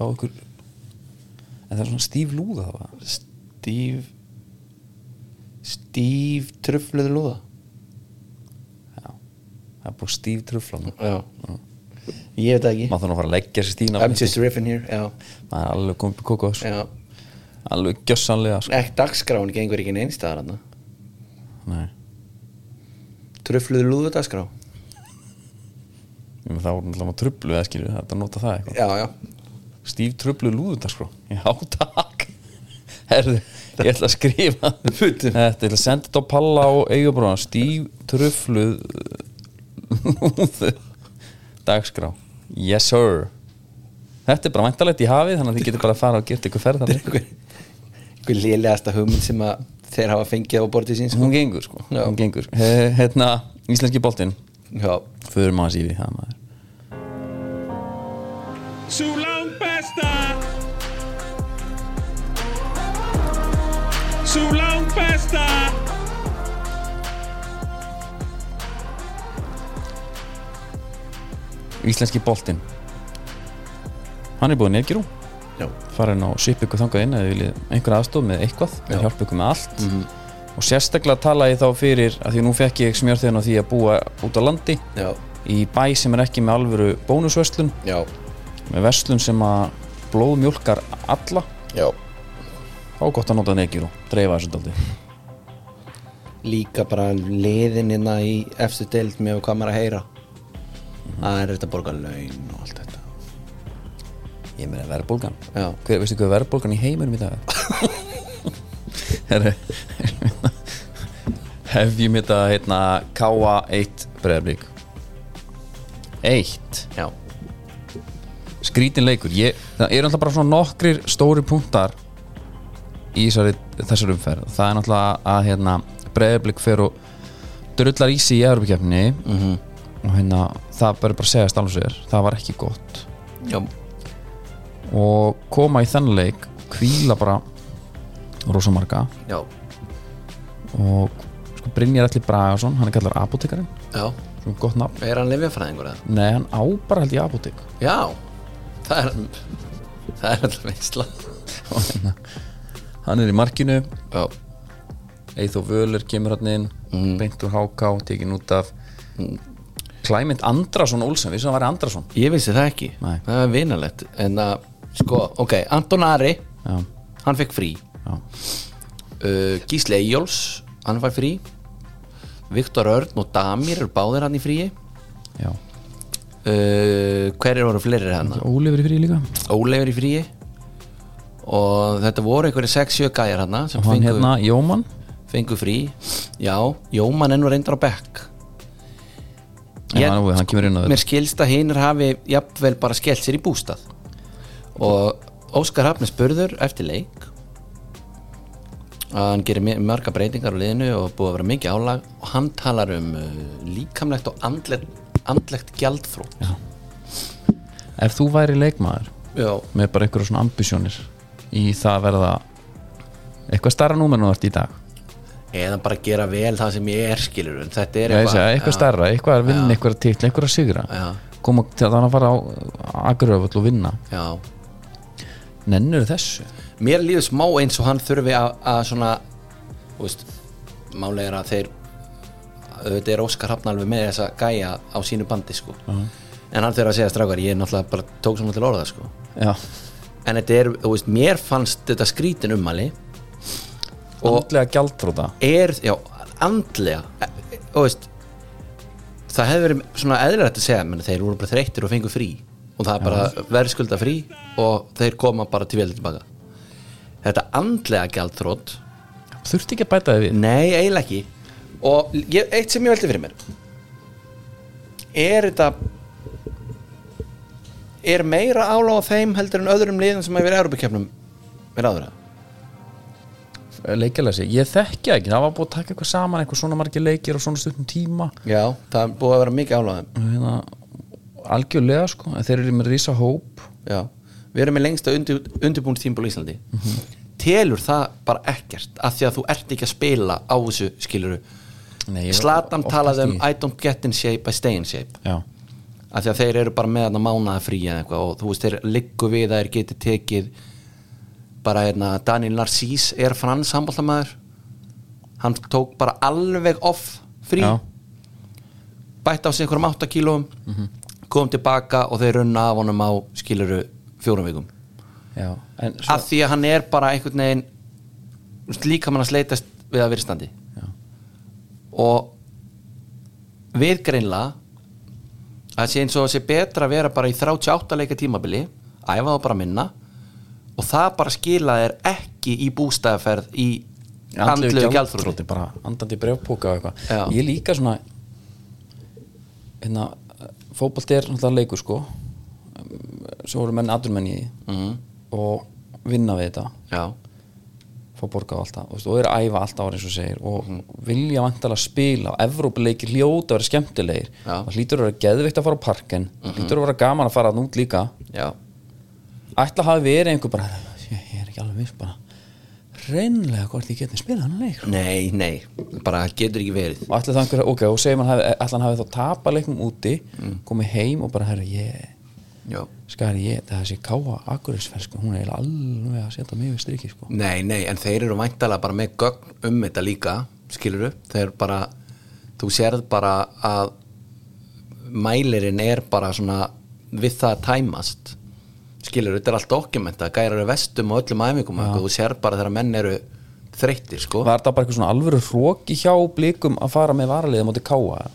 Speaker 1: þá ykkur en það er svona stíf lúða það var
Speaker 2: Stíf Stíf trufluðu lúða
Speaker 1: já, það er búin stíf tröfla maður
Speaker 2: Já Ég veit það ekki
Speaker 1: þarf nú að fara að leggja sér stína
Speaker 2: I'm just riffing here Já,
Speaker 1: maður er alveg komið på kokos
Speaker 2: já
Speaker 1: alveg gjössanlega sko.
Speaker 2: Ekki dagskráin gengur ekki einstæðar hann
Speaker 1: Nei.
Speaker 2: Trufluðu lúðu dagskrá
Speaker 1: Ég meina, þá er náttúrulega maður tröflu eða skilju þetta nota það eitthvað
Speaker 2: Já, já
Speaker 1: stíf tröflu lúðudagskrá já takk sko. herðu ég ætla að skrifa þetta ég ætla að senda þetta á palla á eigabróna stíf tröflu lúðu dagskrá yes sir þetta er bara mæntalegt í hafið þannig að þið getur bara að fara og geta ykkur ferð þannig
Speaker 2: Einhver einhver lélegasta hugmynd sem að þeir hafa fengið á bortið sín sko.
Speaker 1: hún gengur sko
Speaker 2: Já.
Speaker 1: hún gengur He- hérna íslenski boltinn
Speaker 2: Já
Speaker 1: förum aðeins í því það maður
Speaker 5: Sú langt besta Sú langt besta
Speaker 1: íslenski boltinn hann er búin neðgjur úr
Speaker 2: Já
Speaker 1: farin og svipa ykkur þangað inn eða þið viljið einhver aðstof með eitthvað og hjálpa ykkur með allt og sérstaklega tala ég þá fyrir að því nú fekk ég smjörþegin á því að búa út á landi
Speaker 2: Já
Speaker 1: í bæ sem er ekki með alvöru bónusverslun
Speaker 2: Já
Speaker 1: með verslun sem að blóðmjólkar alla
Speaker 2: Já
Speaker 1: þá er gott að nota negjur og dreifa þessu daldi
Speaker 2: Líka bara liðinina í efstu deild með hvað maður er að heyra Það er þetta að borga laun og allt þetta
Speaker 1: ég meina verðbólgan
Speaker 2: Já.
Speaker 1: hver, veistu hvað verðbólgan í heiminum í dag er hef ég mitt að heitna K1 breyðablík 1
Speaker 2: Já
Speaker 1: skrítin leikur ég, það eru alltaf bara svona nokkrir stóri punktar í þessari, þessari umferð það er náttúrulega að hérna, breyðblik fer og drullar í sig í Evropakefni -hmm. og hérna, það bara bara að segja stálu sér það var ekki gott
Speaker 2: Já
Speaker 1: og koma í þennan leik hvíla bara rosa marga
Speaker 2: Já
Speaker 1: og sko Brynjar Alli Bragason hann er kallar apotekarinn,
Speaker 2: Já
Speaker 1: svona gott nafn
Speaker 2: Er hann lifjafræðingur eða?
Speaker 1: nei, hann á bara held í apotek
Speaker 2: Já, það er það er alltaf veistla
Speaker 1: hann er í markinu
Speaker 2: Já,
Speaker 1: Eithó Völur kemur hann inn mm. beint úr HK, tekin út af Mhm. Klæmynd Andrason Olsen, vissi að það væri Andrason
Speaker 2: ég vissi það ekki
Speaker 1: Nei.
Speaker 2: Það er vinalegt En að, sko, ok, Anton Ari
Speaker 1: Já,
Speaker 2: Hann fekk frí
Speaker 1: já,
Speaker 2: uh, Gísli Eyjóls, hann fær frí Viktor Örn og Damir eru báðir hann í fríi
Speaker 1: já
Speaker 2: uh, Hverjir voru fleiri hann?
Speaker 1: Ólifur í frí líka
Speaker 2: Óleifur í fríi Og þetta voru einhverju 6-7 gæjar hann sem
Speaker 1: Og hann
Speaker 2: fengu,
Speaker 1: hérna, Jóman
Speaker 2: fengu frí Já, Jóman ennur reyndar á bekk
Speaker 1: Já, hann, hann kemur inn á
Speaker 2: mér
Speaker 1: þetta
Speaker 2: skilst að hinnir hafi jafnvel bara skellt sér í bústað og og Óskar Hafni spurður eftir leik að hann gerir mi- margar breytingar á liðinu og búið að vera mikið álag og hann talar um uh, líkamlegt og andlegt, andlegt gjaldþrótt Já.
Speaker 1: Ef þú væri leikmaður með bara einhverjum svona ambisjónir í það að verða eitthvað starra númer nú ert í dag
Speaker 2: eða bara gera vel það sem ég er skilur en þetta er
Speaker 1: eitthvað, segja, eitthvað
Speaker 2: Já.
Speaker 1: starra, eitthvað að vinna, eitthvað að titla, eitthvað að sigra
Speaker 2: Já.
Speaker 1: koma til að þannig að fara á agröfull og vinna
Speaker 2: Já.
Speaker 1: nennur þessu
Speaker 2: mér líður smá eins og hann þurfi að, að svona þú veist, málega er að þeir auðvitað er Óskar Hafn alveg með þessa gæja á sínu bandi sko en hann þurfi að segja strákar, ég er náttúrulega bara tók svona til orða sko
Speaker 1: Já.
Speaker 2: en þetta er, þú veist, mér fannst þetta skrítin ummali og
Speaker 1: andlega gjaldfróta
Speaker 2: er, já, andlega e- e- þú veist það hefði verið svona eðlilegt að segja menn þeir voru bara þreyttir og fengu frí og það er bara verðskulda frí og þeir koma bara til vel tilbaka þetta andlega gjaldþrótt
Speaker 1: þurfti ekki að bæta þið við
Speaker 2: nei, eiginlega ekki og ég, eitt sem ég veldi fyrir mér er þetta er meira áláð á þeim heldur en öðrum liðum sem hefur verið Európa-kefnum verið áður að
Speaker 1: leikjalega sig, ég þekki það ekki, það var búið að taka eitthvað saman eitthvað svona margir leikir og svona stundum tíma
Speaker 2: já, það er búið að vera mikið áláð þeim
Speaker 1: Og hérna, algjörlega sko en þeir eru með rísa hóp
Speaker 2: Já, við erum með lengsta undir, undirbúnt tímból í Íslandi Telur það bara ekkert af því að þú ert ekki að spila á þessu skiluru
Speaker 1: Nei, ég-
Speaker 2: Slatan
Speaker 1: oftast
Speaker 2: talaði um
Speaker 1: ekki.
Speaker 2: I don't get in shape, I stay in shape
Speaker 1: Já.
Speaker 2: af því að þeir eru bara með þarna mánaða frí eða eitthvað og þú veist þeir liggu við að þeir geti tekið bara hérna Daniel Narcís er frans handbóltamæður hann tók bara alveg off frí
Speaker 1: Já.
Speaker 2: bætt á sig einhverjum 8 kílóum kom tilbaka og þeir runna af honum á skiluru fjórum vikum
Speaker 1: Já. En, svo,
Speaker 2: af því að hann er bara einhvern veginn þú veist, líka mann að sleitast við að virðstandi
Speaker 1: Já.
Speaker 2: og við greinlega að sé eins og það sé betra að vera bara í 38 leika tímabili æfa þá bara minna og það bara skila þér ekki í bústæðaferð í andlu gjaldþróti
Speaker 1: bara andandi brefpóka og
Speaker 2: Já.
Speaker 1: eitthvað ég líka svona hérna, fótbolt er náttúrulega leikur sko svo voru menn aðurmenn í því
Speaker 2: mm,
Speaker 1: og vinna við þetta
Speaker 2: já,
Speaker 1: fá borgað alltaf þú veist, og er að æfa alltaf ára eins og segir og vilja vantalega spila og Evrópuleikir hljóta að vera skemmtilegir
Speaker 2: Já.
Speaker 1: og hlýtur að vera geðvikt að fara á parken hlýtur að vera gaman að fara að nút líka
Speaker 2: já,
Speaker 1: ætla hafi verið einhver bara ég, ég er ekki alveg viss bara reynlega hvort ég getið spila hann leik
Speaker 2: nei, nei bara það getur ekki verið
Speaker 1: og ætla það einhver, ok, og segir mann ætla hann hafi þá tapa leiknum úti komið heim og bara, herra, ég
Speaker 2: já.
Speaker 1: skari ég, það þessi káa akurisfersk, sko. hún er eiginlega alveg að setja mig við striki, sko
Speaker 2: Nei, nei, en þeir eru væntalega bara með gögn um þetta líka, skilur upp þeir bara, þú sérð bara að mælirinn er bara svona við það að tæmast skilur, þetta er allt dokumenta, gærar er vestum og öllum æfingum, ja. þú sérð bara þegar menn eru þreyttir, sko
Speaker 1: Var það bara eitthvað svona alvöru hróki hjá blikum að fara með varaliða móti káa?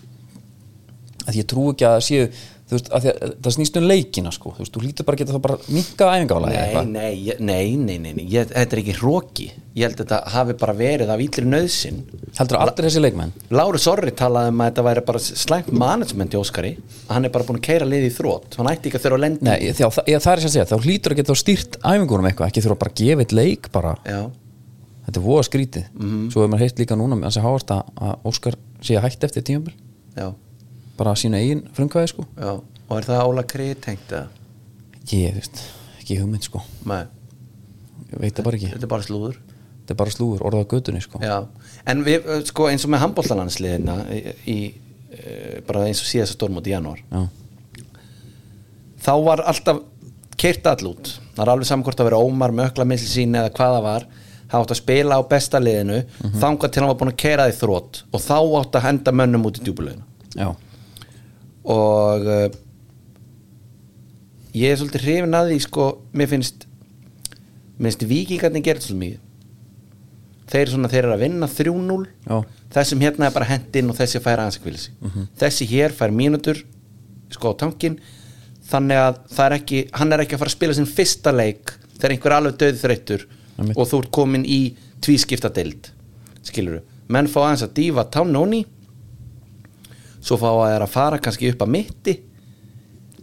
Speaker 1: Að ég trú ekki að það séu, þú veist, að því að það snýst um leikina, sko, þú veist, þú hlýtur bara að geta það bara minkað æfingálega
Speaker 2: Nei,
Speaker 1: eitthvað.
Speaker 2: nei, ég- nei, nei, nei, nei. Ég, þetta er ekki hróki ég held að þetta hafi bara verið af ítlur nöðsin
Speaker 1: Heldur aldrei þessi leikmenn?
Speaker 2: Láru Sorri talaði um að þetta væri bara slæmt management í Óskari að hann er bara búin að keira liði í þrótt hann ætti ekki að þurfa að lenda í
Speaker 1: Nei, ég, þjá, það, ég, það er sem að segja, þá hlýtur að geta þá stýrt æfingunum eitthvað, ekki þurfa bara að gefa eitt leik bara,
Speaker 2: Já,
Speaker 1: þetta er voða skrítið.
Speaker 2: Mhm.
Speaker 1: Svo hefur maður heilt líka núna með hans að háast að, að Óskar sé að hætti eftir tímabil,
Speaker 2: já,
Speaker 1: bara að sína eigin frumkvæði, sko.
Speaker 2: já Og er það Óla Krið tengt að
Speaker 1: Ég, þú veist, ekki hugmynd, sko,
Speaker 2: Nei,
Speaker 1: ég veit það bara ekki,
Speaker 2: þetta er bara slúður
Speaker 1: þetta er bara slúður, orðað götunni, sko.
Speaker 2: Já, en við, ö, sko, eins og með handbóltalansliðina í, í, ö, bara eins og síðast stórmóti í janúar
Speaker 1: Já.
Speaker 2: þá var alltaf keirt all út það er alveg saman hvort að vera ómar, mökla misli sín eða hvað það var, það átt að spila á besta liðinu,
Speaker 1: Mhm.
Speaker 2: þangað til hann var búin að keira því þrótt og þá átt að henda mönnum út í djúbuleginu
Speaker 1: Já.
Speaker 2: og uh, ég er svolítið hrifin að því sko, mér finnst mér finnst vikingarnir gerð svolítið mikið þeir, svona, þeir eru að vinna 3-0
Speaker 1: Já.
Speaker 2: þessum hérna er bara hent inn og þessi fær aðeins að kvíla sig þessi hér fær mínútur sko á tankin þannig að það er ekki, hann er ekki að fara að spila sinn fyrsta leik þegar einhver er alveg döð þreyttur
Speaker 1: Einmitt.
Speaker 2: og þú ert komin í tvískipta deild skiluru, menn fá aðeins að dýfa tánóni svo fá að er að fara kannski upp að mitti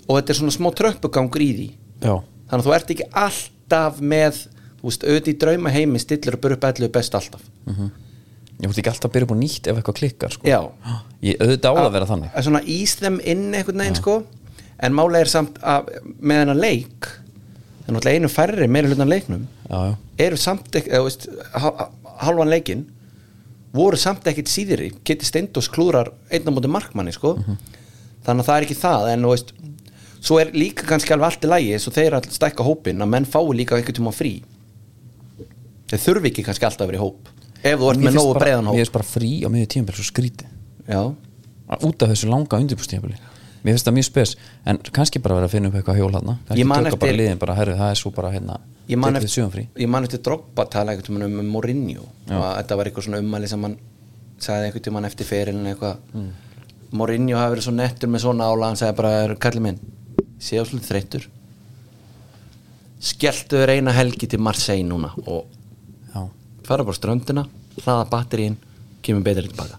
Speaker 2: og þetta er svona smá tröppugangur í því
Speaker 1: Já.
Speaker 2: þannig að þú ert ekki alltaf með þú veist, auðvitað í drauma heimi stillur og burpa allir best alltaf
Speaker 1: Ég mútti ekki alltaf að byrja upp á nýtt ef eitthvað klikkar sko.
Speaker 2: Já.
Speaker 1: Ég auðvitað á það að vera þannig
Speaker 2: að svona ís þeim inn einhvern veginn sko en málega er samt að með hennar leik en náttúrulega einu færri meira hlutan leiknum
Speaker 1: Já, já,
Speaker 2: eru samt ekki, eða, þú veist, hal- halvan leikinn voru samt ekkit síðri Kitty Steindós klúrar einn á móti markmanni sko
Speaker 1: Mhm.
Speaker 2: þannig að það er ekki það en þú veist, svo er líka kannski alveg allt í lagi eins og þeir að stækka hópin að menn fái líka einhvern tíma frí þeir þurfi ekki kannski alltaf að vera í hóp ef þú
Speaker 1: Mér
Speaker 2: ert með
Speaker 1: finnst
Speaker 2: nógu
Speaker 1: bara-
Speaker 2: breiðan
Speaker 1: Mér
Speaker 2: hóp
Speaker 1: finnst bara frí á miðju tímabili svo skríti
Speaker 2: já,
Speaker 1: Út af þessu langa undirbústímabili Mér finnst það mjög spes En kannski bara vera að finna upp eitthvað hjól hana Kannski
Speaker 2: Ég man
Speaker 1: tökka bara
Speaker 2: eftir-
Speaker 1: liðin bara herri Það er svo bara hérna
Speaker 2: ég man,
Speaker 1: tekið þið sjöum
Speaker 2: eftir,
Speaker 1: frí
Speaker 2: ég man eftir Drogba tala einhvern tímann um Mourinho og að þetta var eitthvað svona ummæli sem hann sagði einhvern tímann eftir ferilin eitthvað Mourinho hafi verið svo nettur með svona ála hann sagði bara, "Er- kalli minn sé á svolítið þreyttur skelltu þér eina helgi til Marseille núna og
Speaker 1: Já,
Speaker 2: fara bara á ströndina hlaða batterín, kemur betur tilbaka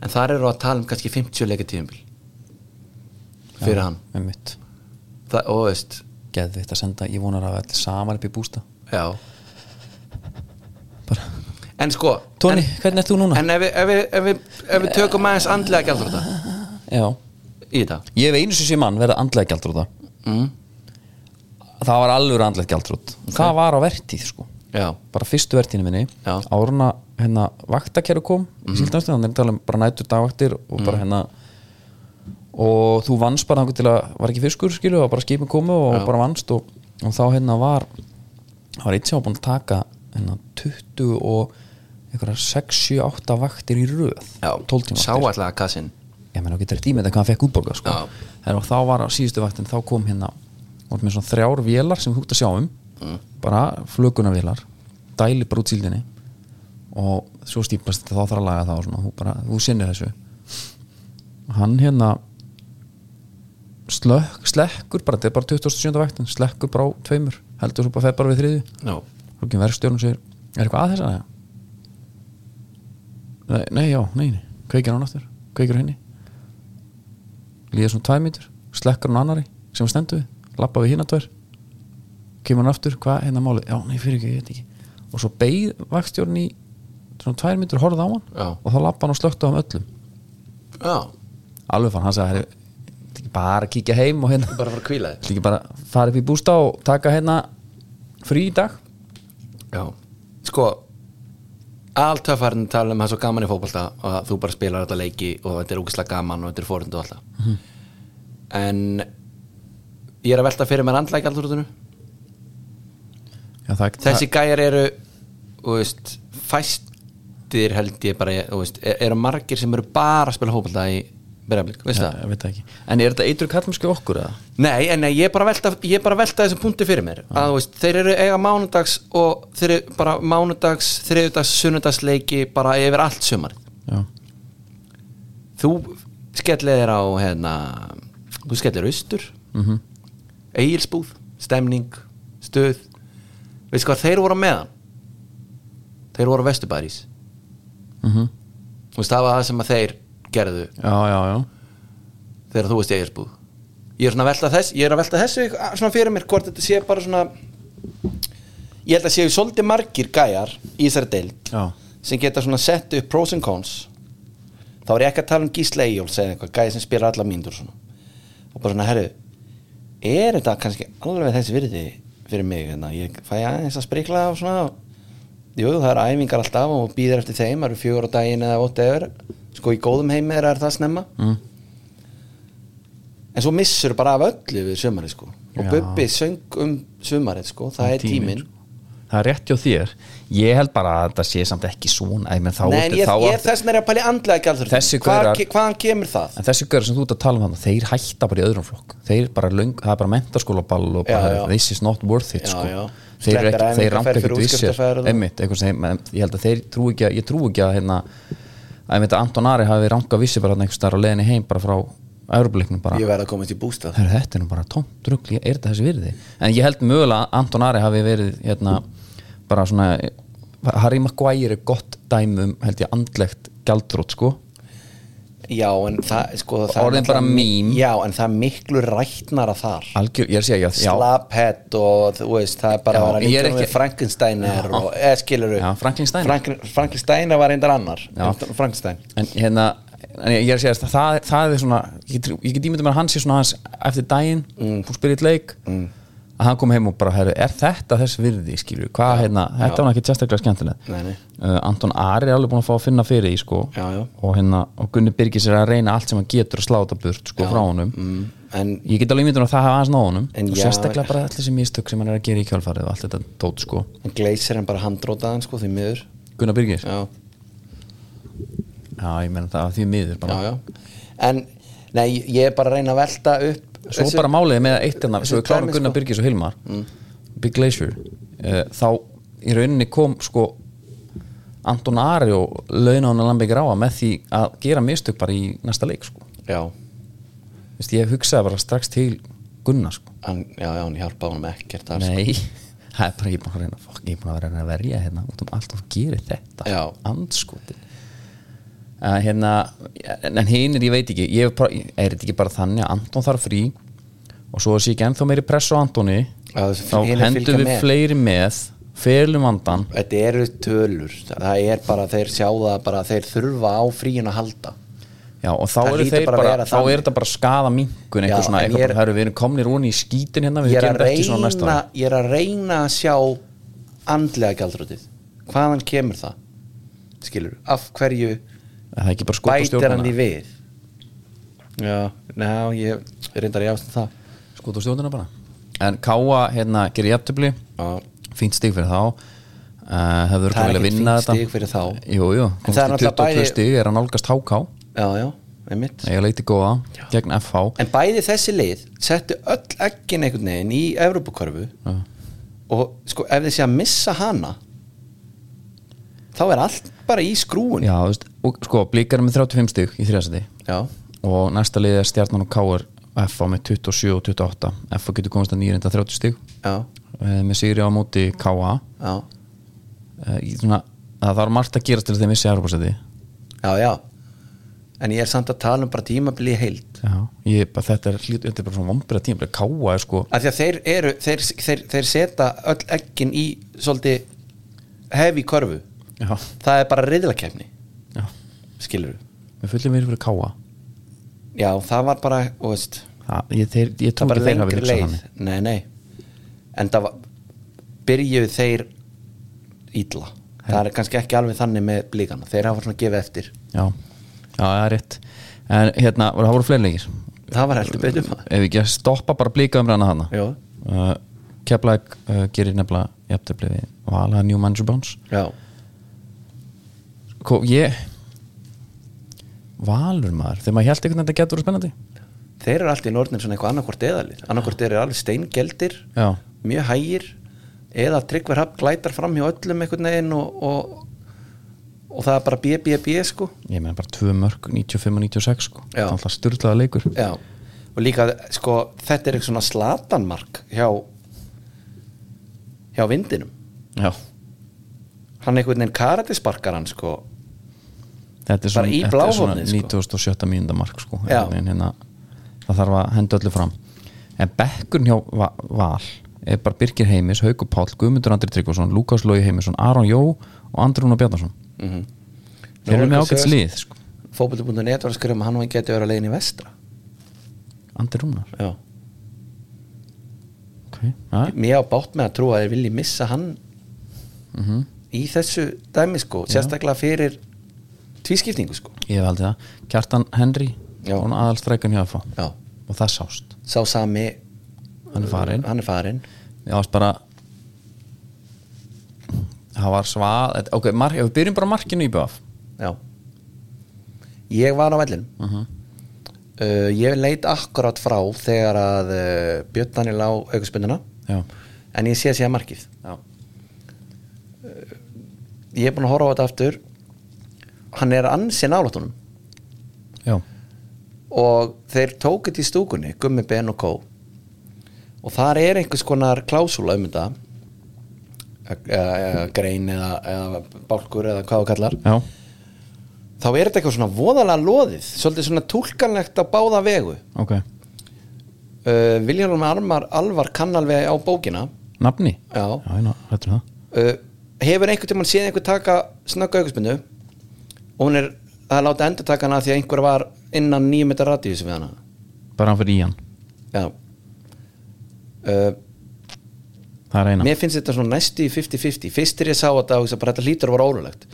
Speaker 2: en þar eru að tala um kannski 50 leika tíðumbil fyrir hann
Speaker 1: með mitt
Speaker 2: Þa, og veist,
Speaker 1: Geðvitt að senda, ég vonar að allir saman upp í bústa
Speaker 2: já
Speaker 1: Bara
Speaker 2: en sko
Speaker 1: Tóni,
Speaker 2: en,
Speaker 1: hvernig ert þú núna?
Speaker 2: En ef við, ef við, ef við, ef við tökum aðeins andlega gældur þetta
Speaker 1: Já,
Speaker 2: í þetta
Speaker 1: ég hef einu sem sé mann verið andlega gjaldrúta
Speaker 2: mm.
Speaker 1: Það var alveg andlega gjaldrút Það var á vertíð sko
Speaker 2: Já,
Speaker 1: Bara fyrstu vertíðinu minni
Speaker 2: Já. Mhm.
Speaker 1: Áruna hérna vaktakerru kom mm. Síldanstöð, hann er að tala um bara nætur dagvaktir Og bara hérna Og þú vannst bara þangur til að Var ekki fiskur skilu og bara skipin komu og
Speaker 2: Já.
Speaker 1: bara vannst og, og þá hérna var Það var eitt sem var búin að taka hérna 20 og einhverjar 6, 7, 8 vaktir í röð
Speaker 2: já
Speaker 1: 12 tíma
Speaker 2: Sá
Speaker 1: vaktir.
Speaker 2: allega kassin
Speaker 1: ég meina þú getur ekki ímynda hvað hann fekk útborga sko.
Speaker 2: Já.
Speaker 1: Þegar- og þá var á síðustu vaktin þá kom hérna voru með svona þrjár vélar sem þú ert að sjá um bara flögunarvélar dæli bara út síldinni og svo stíplast þetta, þá þarf að laga það og svona, þú, bara, þú sinnir þessu hann hérna slökk, slekkur bara, þetta er bara 27. vaktin slekkur bara á tveimur, heldur svo bara fer bara við þriðju
Speaker 2: Já,
Speaker 1: Þá kemur verkstjórn og segir Er eitthvað að þess að það? Nei, nei, já, nei, nei Kveikir hann aftur, kveikir henni Líða svona tvær mítur Slekkar hann annari sem er stendur við Lappa við hina tvær Kemur hann aftur, hvað, hérna málið Já, nei, fyrir ekki, ég veit ekki Og svo beigð verkstjórn í svona tvær mítur Horfði á hann
Speaker 2: Já.
Speaker 1: og þá lappa hann og slökta á hann öllum
Speaker 2: já
Speaker 1: Alveg fann, hann sagði "Herri, þetta er ekki Bara að kíkja heim og hérna
Speaker 2: Bara að fara að kvíla
Speaker 1: Þetta
Speaker 2: þig
Speaker 1: er ekki bara að fara upp í bústa og taka hérna frí í dag
Speaker 2: Já Sko Allt töffarinn tala um það er svo gaman í fótbolta og að þú bara spilar þetta leiki og þetta er úkislega gaman og þetta er fórund og alltaf
Speaker 1: Mhm.
Speaker 2: En ég er að velta fyrir mér andlega gældurutinu
Speaker 1: Já, það,
Speaker 2: Þessi gæjar eru þú veist, fæstir held ég bara þú veist, er- eru margir sem eru bara að spila hópalda í Breðablík, veist það?
Speaker 1: Ég veit það ekki En er þetta eitur kallmösku okkur eða?
Speaker 2: Nei, en nei, ég er bara að velta, ég er bara að velta þessum punkti fyrir mér að þú veist, þeir eru eiga mánudags og þeir eru bara mánudags þriðudags, sunnudagsleiki bara yfir allt sumar
Speaker 1: Já,
Speaker 2: þú skellir þér á hérna, þú skellir austur mm
Speaker 1: Mhm,
Speaker 2: -hmm. eigilsbúð, stemning stöð veist hvað, þeir voru á meðan þeir voru á vesturbæris
Speaker 1: mhm.
Speaker 2: þú veist, það var það sem að þeir gerðu
Speaker 1: já, já, já.
Speaker 2: þegar þú veist eiginsbúð ég er, svona að velta þess, ég er að velta þessu ykk- svona fyrir mér hvort þetta sé bara svona ég held að séu svolítið margir gæjar í þessari deild
Speaker 1: Já.
Speaker 2: sem geta svona sett upp pros and cons þá er ég ekki að tala um Gísla Eyjóls eða eitthvað, gæja sem spyrir alla mínútur svona. og bara svona, herru er þetta kannski alveg þessi virði fyrir mig, hérna, ég fæ aðeins að sprikla og svona jú, það eru æfingar alltaf og býðir eftir þeim, það eru fjögur á daginn eða ótt eður, sko í góðum heimi þeirra er það snemma
Speaker 1: Mhm.
Speaker 2: mm. en svo missur bara af öllu við sumarið sko og
Speaker 1: Já.
Speaker 2: Bubbi söng um sumarið sko, það er tíminn
Speaker 1: Það er rétt hjá þér Ég held bara að þetta sé samt ekki svona Æ, menn, þá,
Speaker 2: Nei, en
Speaker 1: ertu-
Speaker 2: ég,
Speaker 1: þá
Speaker 2: ég
Speaker 1: ertu-
Speaker 2: þess vegna er ég að pæli andlega gældur
Speaker 1: Þessi gaurar-
Speaker 2: Hvaðan kemur það?
Speaker 1: En þessi görður sem þú ert að tala um þannig Þeir hætta bara í öðrum flokk Þeir bara löng, það er bara mentarskólaball og bara,
Speaker 2: Já, já.
Speaker 1: This is not worth it
Speaker 2: Já,
Speaker 1: sko.
Speaker 2: já.
Speaker 1: Þeir, eru ekki,
Speaker 2: Sleppir æfingar,
Speaker 1: þeir rampa
Speaker 2: fer
Speaker 1: ekkert
Speaker 2: fyrir
Speaker 1: við sér
Speaker 2: útskriftarferð og-
Speaker 1: Einmitt, eitthvað sem, en ég held að þeir trú ekki að, Ég trú ekki að hérna Að mitt Anton Ari hafi ranga vissi bara einhvers þar á leiðinni heim bara frá Örbleiknum bara
Speaker 2: Ég verð að komast í bústað
Speaker 1: Herra, þetta er nú bara tómt rugl, er þetta þessi virði? En ég held mögulega að Anton Ari hafi verið hérna, bara svona Harry Maguire er gott dæmi um held ég andlegt gjaldrót sko
Speaker 2: Já, en það, sko, það er
Speaker 1: Orðin bara
Speaker 2: náttúrulega mi-
Speaker 1: mím.
Speaker 2: Já, en það er miklu rætnara þar
Speaker 1: algjör, ég sé ekki að já,
Speaker 2: Slapphead og þú veist, það er bara
Speaker 1: Já,
Speaker 2: að vera
Speaker 1: ég er
Speaker 2: líka
Speaker 1: ekki-
Speaker 2: við Frankensteiner og, eða skilur
Speaker 1: Já, Frankensteiner.
Speaker 2: Frankensteiner var reyndar annar
Speaker 1: Já.
Speaker 2: en Frankenstein
Speaker 1: en hérna en ég ég er að segja að það, það er svona ég get, ég get ímyndið mér að hann sé svona hans eftir daginn, mm. spirit leik mm. að hann kom heim og bara, heru, er þetta þess virði skilur, hvað hérna, þetta var ekki sérstaklega skemmtileg
Speaker 2: Nei, nei.
Speaker 1: Uh, Anton Ari er alveg búin að fá að finna fyrir því sko.
Speaker 2: Já, já.
Speaker 1: og hérna, og Gunni Birgis er að reyna allt sem hann getur að sláta burt sko, frá honum
Speaker 2: mm, En
Speaker 1: ég get alveg ímyndið mér að það hafa aðeins náðunum
Speaker 2: En
Speaker 1: og
Speaker 2: já,
Speaker 1: sérstaklega bara allir sem mistök sem hann er að gera í kjálfarið og allt þetta tót sko,
Speaker 2: Glacier hann bara handrótaðan, sko, því miður
Speaker 1: Gunnar Birgis já,
Speaker 2: Já,
Speaker 1: ég menna það því miður bara
Speaker 2: já, já En, nei, ég er bara að reyna að velta upp
Speaker 1: svo
Speaker 2: þessu-
Speaker 1: bara máliði með eitt hérna svo
Speaker 2: þessi
Speaker 1: við klárum
Speaker 2: dæmi,
Speaker 1: Gunnar
Speaker 2: sko.
Speaker 1: Byrgis og Hilmar Big Glacier uh, þá í rauninni kom sko Anton Ari og launa hann að lambi gráa með því að gera mistök bara í næsta leik sko.
Speaker 2: Já,
Speaker 1: Vist, ég hugsaði bara strax til Gunnar sko.
Speaker 2: hann, já, já, hann hjálpaði honum ekkert þar, sko.
Speaker 1: nei, það er bara ég er búin að reyna fokk, ég er búin að vera að verja hérna út um allt og gera þetta
Speaker 2: Já.
Speaker 1: andskotin uh, hérna, en hinn er ég veit ekki ég er, bara, er þetta ekki bara þannig að Anton þarf frí og svo sé ekki ennþá meiri press á Antoni
Speaker 2: Já, þessi
Speaker 1: þá
Speaker 2: hinir fylgja
Speaker 1: hendum við
Speaker 2: með.
Speaker 1: fleiri með felum andan
Speaker 2: Þetta eru tölur Það er bara, þeir sjá það bara Þeir þurfa á fríin að halda
Speaker 1: já, og þá
Speaker 2: Það
Speaker 1: eru
Speaker 2: hlýtur
Speaker 1: þeir
Speaker 2: bara að
Speaker 1: bara,
Speaker 2: vera
Speaker 1: þá
Speaker 2: þannig.
Speaker 1: er þetta bara skada minkun
Speaker 2: Já,
Speaker 1: eitthvað svona,
Speaker 2: en
Speaker 1: eitthvað
Speaker 2: ég
Speaker 1: bara,
Speaker 2: er-
Speaker 1: herru, við erum komnir ón í skítin hérna, við
Speaker 2: ég er,
Speaker 1: gerum
Speaker 2: að
Speaker 1: þetta ekki svona næsta
Speaker 2: reyna,
Speaker 1: ári.
Speaker 2: ég er að reyna að sjá andlega gjaldrötið hvaðan kemur það skilur, af hverju
Speaker 1: Er það er ekki bara skot á
Speaker 2: bætir hann því
Speaker 1: stjórnuna
Speaker 2: við já, ná, ég reyndar að jást það
Speaker 1: skot á stjórnuna bara en Káa, hérna, gerir jafntöfli
Speaker 2: já,
Speaker 1: fínt stig fyrir þá uh, hefur
Speaker 2: Það er
Speaker 1: það verið að
Speaker 2: ekkert
Speaker 1: vinna
Speaker 2: fínt
Speaker 1: þetta
Speaker 2: stig fyrir þá.
Speaker 1: jú, jú,
Speaker 2: En það er
Speaker 1: komst í
Speaker 2: náttúrulega
Speaker 1: 22
Speaker 2: bæði-
Speaker 1: stig er að nálgast HK
Speaker 2: já, já, einmitt
Speaker 1: eiga leiti góða, gegn FH
Speaker 2: en bæði þessi lið settu öll ekkin einhvern veginn í Evrópukörfu
Speaker 1: Eh,
Speaker 2: og sko, ef þið sé að missa hana þá er allt bara í skrúun
Speaker 1: já, þú veist, og sko, blíkar með 35 stig í þriðasæti
Speaker 2: já,
Speaker 1: og næsta liðið er stjarnan og KR FH með 27 og 28 FH getur komast að nýjönda 30 stig
Speaker 2: já,
Speaker 1: eh, með sigri á móti KA
Speaker 2: já,
Speaker 1: Eh, í svona, það þarf margt að gerast til þeim vissi Evropasæti
Speaker 2: já, já. en ég er samt að tala um bara tímabili í heild
Speaker 1: ég, bara, þetta er hlýt, þetta er bara svona vombriða tíma KA er sko,
Speaker 2: að því að þeir eru þeir, þeir, þeir seta öll ekkin í svolítið hefi körfu
Speaker 1: já,
Speaker 2: það er bara riðlakefni,
Speaker 1: já
Speaker 2: skilur
Speaker 1: við fullum verið fyrir KA
Speaker 2: já, það var bara, þú veist
Speaker 1: það, ég, þeir, ég
Speaker 2: það
Speaker 1: trú
Speaker 2: var
Speaker 1: ekki þeir hafi
Speaker 2: lengri
Speaker 1: hugsað
Speaker 2: leið
Speaker 1: þannig
Speaker 2: nei, nei, en það var byrjuðu þeir ítla, það er kannski ekki alveg þannig með blíkana, þeir hafa svona gefið eftir
Speaker 1: já, já, það er rétt en hérna, voru- það voru fleiri leikir
Speaker 2: það var heldur betur maður
Speaker 1: ef við ekki að stoppa bara blíka umræðana hana
Speaker 2: já,
Speaker 1: uh, Keflæk uh, gerir nefnilega jafntefli við Vala New Manager Bones
Speaker 2: já,
Speaker 1: Kó, ég Valur maður, þegar maður held einhvern veginn að þetta getur verið spennandi
Speaker 2: þeir eru alltaf í norðnum svona eitthvað annarkvort eðalið, annarkvort eru alveg steingeldir
Speaker 1: já,
Speaker 2: mjög hægir eða tryggver hafn glætar fram hjá öllum einhvern veginn og, og, og það er bara bjö, bjö, bjö sko
Speaker 1: ég meina bara tvö mörg 95 og 96 sko, það
Speaker 2: Já.
Speaker 1: er alltaf styrlaða leikur
Speaker 2: Já. og líka sko þetta er eitthvað svona slatanmark hjá hjá vindinum
Speaker 1: já,
Speaker 2: hann einhvern veginn karatisparkar hann sko
Speaker 1: þetta er
Speaker 2: Bara
Speaker 1: svona,
Speaker 2: í
Speaker 1: þetta er svona
Speaker 2: bláhornið, sko.
Speaker 1: 97. mínunda mark sko,
Speaker 2: Já.
Speaker 1: einhvern veginn hérna, það þarf að henda öllu fram en bekkurinn hjá Va- Val er bara Birgir Heimis, Haukur Páll Guðmundur Andri Tryggvason, Lúkas Lói Heimisson Aron Jó og Andri Rúnar Bjarnason þeir eru
Speaker 2: Nú,
Speaker 1: með
Speaker 2: Lúkas
Speaker 1: ágætt
Speaker 2: Jóhann-
Speaker 1: slið sko.
Speaker 2: fótbolti.net var að skrifa um að hann og hann geti verið að leiðin í vestra
Speaker 1: Andri Rúnar
Speaker 2: Já.
Speaker 1: okay. ja,
Speaker 2: mér á bátt með að trúa að þeir vilji missa hann í þessu dæmi sko sérstaklega fyrir tvískiptingu sko
Speaker 1: ég hef haldið það, Kjartan Henry
Speaker 2: Já.
Speaker 1: hún aðalstrækjan hjá að fá
Speaker 2: Já.
Speaker 1: og það sást,
Speaker 2: sá sami
Speaker 1: hann er farin
Speaker 2: hann er farin
Speaker 1: ég ást bara það var svað þetta- ok, mark, ef við byrjum bara á markinu í BF
Speaker 2: Já Ég var á vellinum uh, Ég leit akkurat frá þegar að uh, Björn Daniel á aukaspundina
Speaker 1: já,
Speaker 2: en ég sé síðan markið Eh,
Speaker 1: já,
Speaker 2: Ég er búin að horfa á þetta aftur Hann er ansi nálatunum
Speaker 1: já.
Speaker 2: og þeir tóku þetta í stúkunni Gummi Ben og Kó og þar er einhvers konar klásúla um þetta Eh, eða, eða grein eða, eða bálkur eða hvað þú kallar
Speaker 1: já.
Speaker 2: þá er þetta eitthvað svona voðalega loðið svolítið svona túlkanlegt á báða vegu
Speaker 1: ok,
Speaker 2: uh, Viljarnum Armar Alvar kannalveg á bókina
Speaker 1: nafni
Speaker 2: Já.
Speaker 1: já ég ná, hættur það
Speaker 2: uh, hefur einhvern tímann séð einhver taka snögga aukurspinnu og hún er að láta endur taka hana af því að einhver var innan 9 metra radíus við hana
Speaker 1: bara hann fyrir í hann,
Speaker 2: já uh,
Speaker 1: það er eina
Speaker 2: mér finnst þetta svona næstu í 50-50 fyrst þegar ég sá þetta og bara þetta lítur að vera ólulegt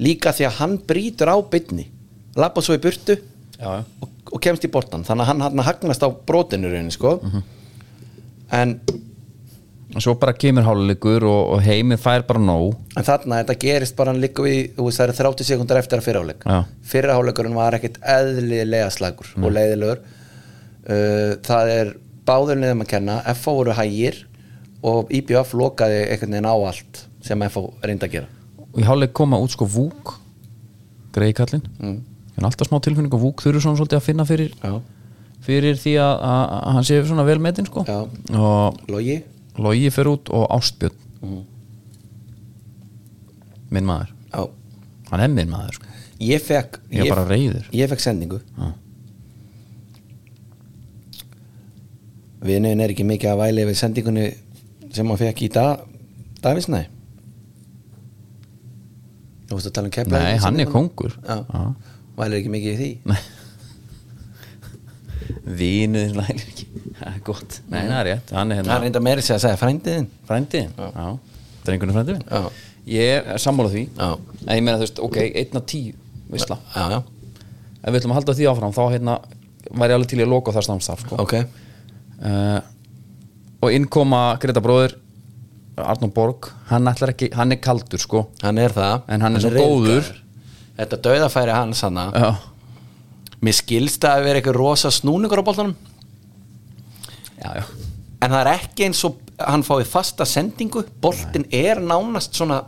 Speaker 2: líka því að hann brýtur á bytni lappa svo í burtu
Speaker 1: já,
Speaker 2: og, og kemst í bortan þannig að hann, hann hagnast á brotinu í rauninni sko en,
Speaker 1: og svo bara kemur háluleikur og, og heimið fær bara nóg
Speaker 2: en þarna þetta gerist bara hann líka við þú veist, það eru 30 sekundar eftir að fyrirháleik
Speaker 1: Já.
Speaker 2: fyrirháleikurinn var ekkit eðlilega slagur og leiðilegur uh, það er báður niðum að kenna FO voru hægir og IBF lokaði einhvern veginn á allt sem FO reyndi að gera
Speaker 1: og í háluleik koma út sko Vúk greiðkallinn mm. en alltaf smá tilfinning og Vúk þurfi svona svolítið að finna fyrir
Speaker 2: Já.
Speaker 1: fyrir því að, að, að hann sé svona vel metinn sko
Speaker 2: Já.
Speaker 1: og
Speaker 2: Logi
Speaker 1: Logi fer út og Ástbjörn minn maður
Speaker 2: Já.
Speaker 1: hann er minn maður sko.
Speaker 2: ég fekk
Speaker 1: Ég er bara reiður. Ah.
Speaker 2: ég fekk sendingu viðnöðin er ekki mikið að væli við sendingunni sem hann fekk í dag Davísnæ þú veist að tala um kepla
Speaker 1: nei, hann er kongur
Speaker 2: já. vælir ekki mikið í því
Speaker 1: vinuðin lælir ekki það er gott, nei, það er rétt hann er
Speaker 2: það er
Speaker 1: hérna
Speaker 2: reynda meira sér að segja frændiðin
Speaker 1: frændiðin það er einhvern frændiðin
Speaker 2: Já.
Speaker 1: ég er sammála því
Speaker 2: Já.
Speaker 1: en ég meina þú veist, ok, einn af tíu veistla,
Speaker 2: já, já,
Speaker 1: ef við ætlum að halda því áfram þá hérna væri alveg til í að loka það samstarf sko.
Speaker 2: ok
Speaker 1: uh, og innkoma Greta bróður Arnón Borg, hann ætlar ekki hann er kaldur sko
Speaker 2: hann er það
Speaker 1: En hann er svo
Speaker 2: ryðgaður.
Speaker 1: góður.
Speaker 2: þetta dauðafæri hans hann
Speaker 1: já,
Speaker 2: mér skilst að vera eitthvað rosa snúningur á boltanum
Speaker 1: já, já.
Speaker 2: en það er ekki eins og hann fái fasta sendingu boltin er nánast svona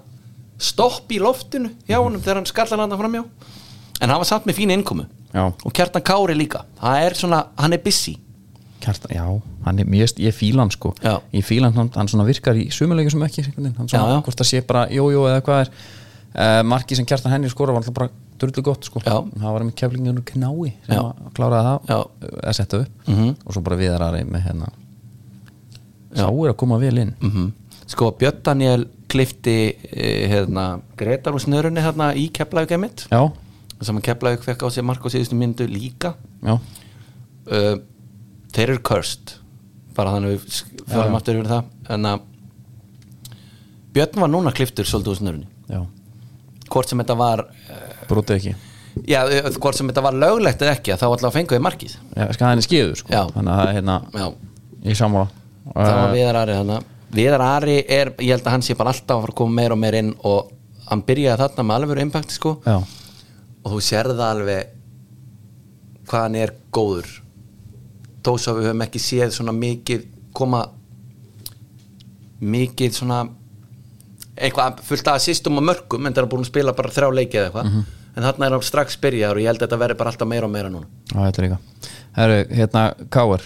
Speaker 2: stopp í loftinu hjá honum þegar hann skallar landa framjá en hann var samt með fína innkomu
Speaker 1: Já.
Speaker 2: og kjartan Kári líka, það er svona, hann er busy
Speaker 1: Kjartan, já, hann er mjög, ég fíla hann sko
Speaker 2: Já.
Speaker 1: ég fíla hann, hann svona virkar í sumulegjum sem ekki, einhvern veginn. hann svona,
Speaker 2: Já, já.
Speaker 1: hvort það sé bara jójó eða hvað er uh, marki sem Kjartan henni skora var alltaf bara drullu gott sko,
Speaker 2: Já.
Speaker 1: það var með keflingin úr knái sem
Speaker 2: Já.
Speaker 1: að kláraði það
Speaker 2: Já. Mhm.
Speaker 1: að setja upp -hmm. og svo bara viðarari með hérna sá er að koma vel inn
Speaker 2: mm sko Björn Daniel klifti eh, hérna, Gretar úr snörunni hérna, í Keflavík emitt
Speaker 1: já,
Speaker 2: sem að Keflavík fekk á sig mark á síðustu myndu líka
Speaker 1: já,
Speaker 2: uh, þeir eru cursed bara þannig við sk- förum aftur yfir það en að Björn var núna kliftur svolítið úr snörunni
Speaker 1: já
Speaker 2: hvort sem þetta var eh,
Speaker 1: brotið ekki,
Speaker 2: já, eh, hvort sem þetta var löglegt eða ekki að þá allavega fenguði markið
Speaker 1: já, skal hann er skýður sko
Speaker 2: Já.
Speaker 1: þannig að það er hérna,
Speaker 2: já,
Speaker 1: ég sammála
Speaker 2: það var
Speaker 1: Eh,
Speaker 2: Viðar Ari þannig Viðar Ari er, ég held að hann sé bara alltaf að fara að koma meir og meir inn og hann byrjaði þarna með alveg impact sko
Speaker 1: já,
Speaker 2: og þú sérði það alveg hvað hann er góður þó svo við höfum ekki séð svona mikið koma mikið svona eitthvað fullt af assistum og mörgum en það er búin að spila bara þrjá leiki eða eitthvað en þarna er hann strax byrjaður og ég held að þetta verði bara alltaf meira og meira núna
Speaker 1: já, þetta er líka Heru, hérna, Káar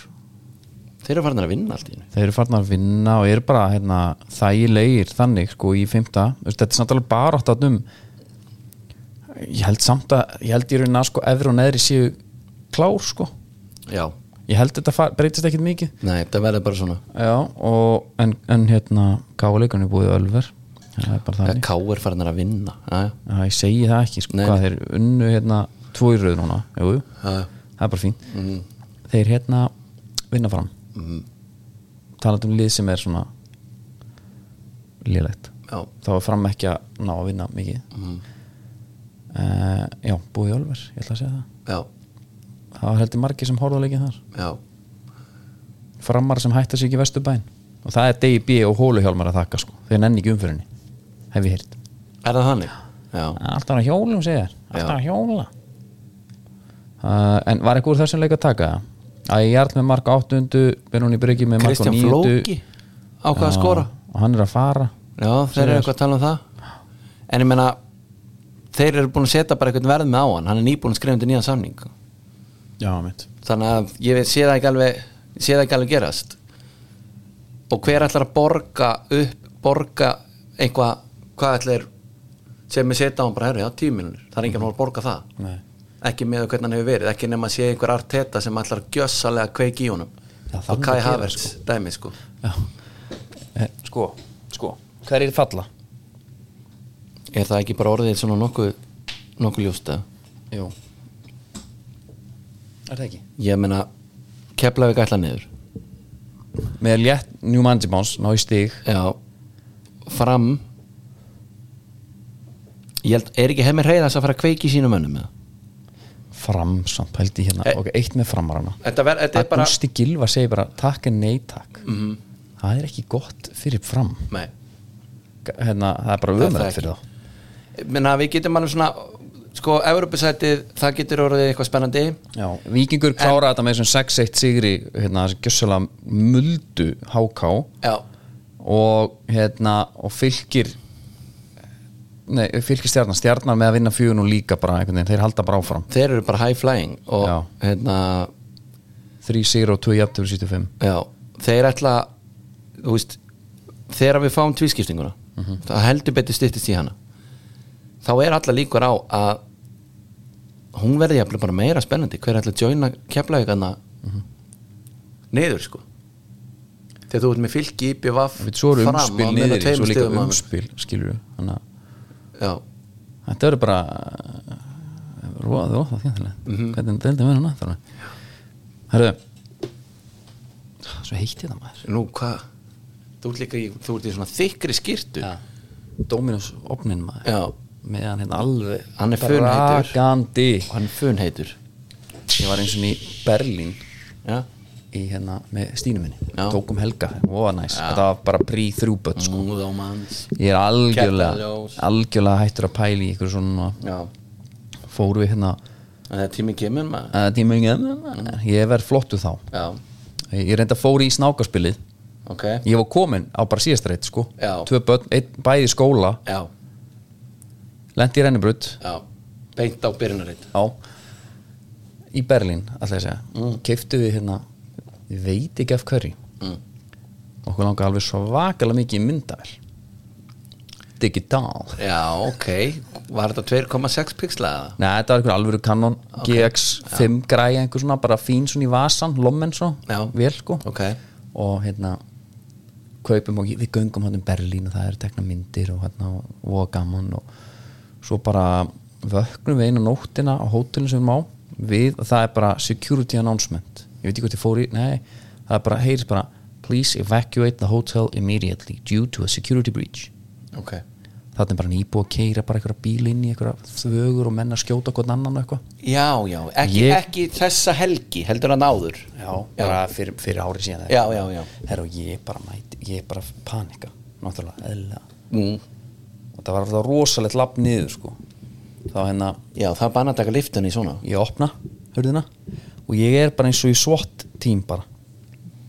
Speaker 2: þeir eru farin að vinna allt í hennu
Speaker 1: þeir eru farnar að vinna og eru bara hérna, þægilegir þannig sko í fymta þetta er samt alveg bara átt um ég held samt að ég held í raunin að sko efri og neðri séu klár sko
Speaker 2: já,
Speaker 1: ég held þetta far, breytist ekkit mikið
Speaker 2: nei, þetta verði bara svona
Speaker 1: já og en, en hérna káleikunni búið ölver það er bara þannig
Speaker 2: Ká er farin að vinna já,
Speaker 1: já, ég segi það ekki sko
Speaker 2: Nei,
Speaker 1: hvað þeir unnu hérna tvo í rauð núna jú, jú.
Speaker 2: já, já,
Speaker 1: það er bara fín
Speaker 2: Mm,
Speaker 1: þeir hérna vinna fram mm. talandi um lið sem er svona liðlegt
Speaker 2: já.
Speaker 1: þá er fram ekki að ná að vinna mikið
Speaker 2: Mhm.
Speaker 1: mm. já, búið í Ölver ég ætla að segja það
Speaker 2: já.
Speaker 1: það var heldur margir sem horfðu leikið þar
Speaker 2: já.
Speaker 1: framar sem hætta sér ekki vesturbæn og það er DIB og hóluhjálmar að þakka sko þeir nenni ekki umfyrinni, hef ég heyrt
Speaker 2: er það þannig? já,
Speaker 1: alltaf að hjólum segir, alltaf
Speaker 2: Já.
Speaker 1: að hjóla uh, en var eitthvað úr þessum leik að taka það? að ég jarl með marka 800 Benóni Bryggi með marka 900
Speaker 2: Kristján Flóki ákvað að skora
Speaker 1: og hann er að fara
Speaker 2: Já, þeir eru eitthvað að tala um það En ég meina Þeir eru búin að setja bara eitthvað verð með á hann Hann er nýbúin að skrifa undir nýjan samning
Speaker 1: já, mitt
Speaker 2: Þannig að ég veit, sé það ekki alveg Sé það ekki alveg gerast Og hver ætlar að borga upp Borga eitthvað Hvað ætlar sem ég setja á hann bara herri, já, tíu mínúnir, það er enginn að fara að borga það
Speaker 1: Nei.
Speaker 2: ekki með hvernig hann hefur verið, ekki nema að sé einhver arteta sem ætlar gjössalega að kveiki í honum
Speaker 1: Já, það
Speaker 2: og
Speaker 1: er
Speaker 2: Kai
Speaker 1: að gera,
Speaker 2: Havertz, dæmi sko
Speaker 1: Eh, sko, sko, hver er falla?
Speaker 2: er það ekki bara orðið svona nokkuð nokkuð ljósta?
Speaker 1: Jú Er það ekki?
Speaker 2: Ég meina, Keflavík ætla niður
Speaker 1: Með létt Newmanji Bounce, ná í stig
Speaker 2: Já Fram Ég held, er ekki hefði reyðast að fara að kveiki í sínum önnum með
Speaker 1: Fram, samt, held ég hérna
Speaker 2: Eh.
Speaker 1: Ok, eitt með framarana
Speaker 2: Þetta, ver, þetta Mhm.
Speaker 1: Að Gusti Gilva segir bara takk en nei takk -hmm. Það er ekki gott fyrir fram
Speaker 2: Nei,
Speaker 1: hérna, Það er bara
Speaker 2: Það er það
Speaker 1: umrætt
Speaker 2: ekki.
Speaker 1: fyrir þá
Speaker 2: menna við getum alveg svona Sko, Evropasætið, það getur orðið eitthvað spennandi
Speaker 1: Já, Víkingur klára þetta með þessum 6-1 sigri hérna, þessi gjössalega muldu háká
Speaker 2: Já,
Speaker 1: og hérna og fylgir nei, fylgir stjarnar, stjarnar með að vinna fjögun og líka bara einhvern veginn, þeir halda bara áfram
Speaker 2: þeir eru bara high flying og
Speaker 1: Já.
Speaker 2: hérna,
Speaker 1: þrý sigri og 2 jafn til 75
Speaker 2: já þeir ætla, þú veist þegar við fáum tvískiptinguna það heldur betur styttist í hana þá er alla líkur á að hún verði jafnvel bara meira spennandi hver ætla að joina keflaugana niður sko þegar þú ert með fylki, BVF
Speaker 1: Við svo eru umspil niður, í, svo líka
Speaker 2: um,
Speaker 1: umspil skilur við, þannig að
Speaker 2: já,
Speaker 1: þetta verður bara eh, roða og það skemmtilega
Speaker 2: Mhm.
Speaker 1: hvernig deildin verður náttúrulega Herðu svo heitti það maður
Speaker 2: nú hvað þú ert líka í, þú ert í svona þykri skýrtu já,
Speaker 1: Dominus opnin maður
Speaker 2: já
Speaker 1: meðan hérna alveg
Speaker 2: Hann er funheitur.
Speaker 1: brakandi.
Speaker 2: og hann fun heitur
Speaker 1: ég var eins og í Berlín
Speaker 2: já,
Speaker 1: í hérna með stínu minni
Speaker 2: Já.
Speaker 1: tókum helga, voða næs þetta var bara prí þrjúbött sko.
Speaker 2: múðómans
Speaker 1: ég er algjörlega
Speaker 2: Kertaljós.
Speaker 1: algjörlega hættur að pæla í ykkur svona
Speaker 2: já,
Speaker 1: fóru við hérna
Speaker 2: það er tími kemur maður
Speaker 1: uh, tímingum,
Speaker 2: Mm.
Speaker 1: ég verð flottu þá
Speaker 2: já,
Speaker 1: ég reynda fóru í snákaspilið
Speaker 2: ok
Speaker 1: ég var komin á bara síðastrætt sko
Speaker 2: Já.
Speaker 1: tvö börn, einn bæði í skóla
Speaker 2: já,
Speaker 1: lendi í rennibrut
Speaker 2: já, beint á byrjunarreit
Speaker 1: Já Í Berlín, alltaf ég að segja mm. Keiftu við hérna, ég veit ekki af hverju
Speaker 2: Mm.
Speaker 1: Okkur langar alveg svakalega mikið í myndavel Digital
Speaker 2: já, ok, var þetta 2,6 pixlaða?
Speaker 1: Nei, þetta var einhver alvöru Canon GX5 græja, einhver svona bara fín svona í vasan, lommen svo
Speaker 2: Já.
Speaker 1: vel sko
Speaker 2: ok,
Speaker 1: og hérna kaupum og við göngum hann um Berlín og það eru tekna myndir og hérna og gaman og svo bara vöknum við einu nóttina á hótelin sem við má við, það er bara security announcement ég veit ekki hvað þið fóri, nei það er bara, heyrist bara please evacuate the hotel immediately due to a security breach
Speaker 2: ok
Speaker 1: það er bara nýbúið að keira bara einhverja bíl inn í einhverja þvögur og menn að skjóta hvern annan og eitthvað
Speaker 2: já, já, ekki,
Speaker 1: Ég-
Speaker 2: ekki þessa helgi heldur hann áður
Speaker 1: já, bara fyrir, fyrir ári síðan
Speaker 2: já, já, já,
Speaker 1: Herra, og ég bara mæti, ég bara panika náttúrulega, eðlilega
Speaker 2: mm.
Speaker 1: og það var alltaf rosalegt lapp niður sko. þá hérna,
Speaker 2: já það er bara að taka liftunni svona
Speaker 1: ég opna hörðina og ég er bara eins og í svott tím bara,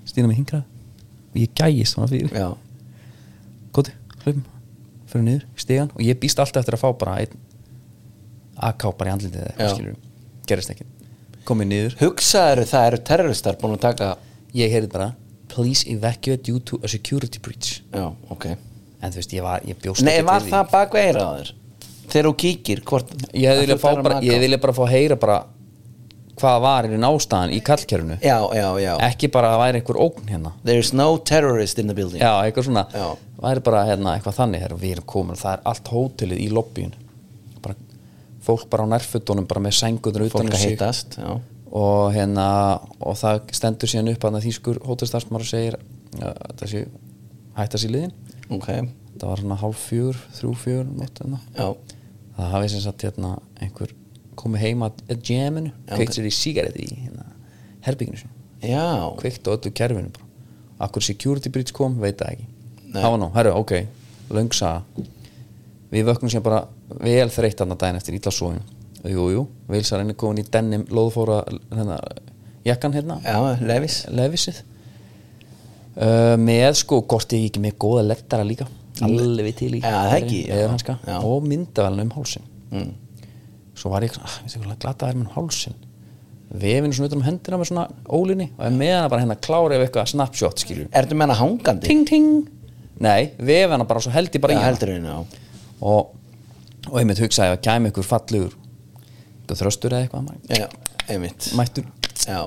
Speaker 1: stýna mig hingra og ég gægist svona fyrir
Speaker 2: já,
Speaker 1: goti, hlaupum, fyrir niður stegan og ég býst alltaf eftir að fá bara einn AK bara í andlitið eða eitthvað
Speaker 2: Já.
Speaker 1: skilur gerist ekki, komið niður
Speaker 2: hugsaður það eru terroristar búin að taka
Speaker 1: ég heyrði bara, please evacuate due to a security breach
Speaker 2: já, ok
Speaker 1: en þú veist, ég var, ég bjóst
Speaker 2: nei,
Speaker 1: ekki
Speaker 2: var
Speaker 1: til því.
Speaker 2: það bakveira á þér þegar þú kíkir hvort
Speaker 1: ég hefði viljað
Speaker 2: að þú
Speaker 1: fá
Speaker 2: ferð að
Speaker 1: bara,
Speaker 2: maka?
Speaker 1: ég vilja bara fá að heyra bara hvað var í nástaðan í kallkerfinu
Speaker 2: já, já, já,
Speaker 1: ekki bara að það væri einhver ógn hérna
Speaker 2: there is no terrorist in the building
Speaker 1: já, eitthvað svona,
Speaker 2: Já.
Speaker 1: væri bara hérna, eitthvað þannig herr, við erum komin, það er allt hótelið í lobbyin bara, fólk bara á nærfötunum bara með sængundur utan
Speaker 2: fólk
Speaker 1: um
Speaker 2: að
Speaker 1: sig
Speaker 2: hittast já,
Speaker 1: og hérna og það stendur síðan upp að þýskur hótelstarfsmar og segir uh, þessi, hætta sér liðin
Speaker 2: ok,
Speaker 1: það var svona hálf fjör, þrjú fjör nótt, hérna.
Speaker 2: já,
Speaker 1: það hafi sem sagt hérna einhver komið heima að að jaminu, kveikt sér í sígaretti í hérna, herbygginu sinu
Speaker 2: já
Speaker 1: kveikt á öllu kerfinu bara akkur security breach kom, veit það ekki
Speaker 2: Nei.
Speaker 1: það var nú, herru, ok, löngsa við vöknum sér bara vel þreytt annar daginn eftir ítla svoðin jú, jú, vilsarinn er komin í denim loðfóra hérna, jakkan hérna
Speaker 2: já, Levis
Speaker 1: lefisið uh, með sko, hvort ég ekki með góða lettara líka alveg til í
Speaker 2: Já, það ekki, já.
Speaker 1: leðurhanska
Speaker 2: Já. Mm.
Speaker 1: og myndavelna um hálsin svo var ég svona, ah, veist ekki, glata þær með um hálsin vefinu svona utan um hendina með svona ólinni og ég með hana bara hérna klára ef eitthvað snapshot skilur
Speaker 2: ertu með hana hangandi?
Speaker 1: ting ting nei, vef hana bara svo held ég bara
Speaker 2: já,
Speaker 1: í hana
Speaker 2: heldur henni, já
Speaker 1: og og einmitt hugsaði að kæmi ykkur fallegur eitthvað þröstur eða eitthvað mæ-
Speaker 2: Já, einmitt
Speaker 1: mættur,
Speaker 2: Já,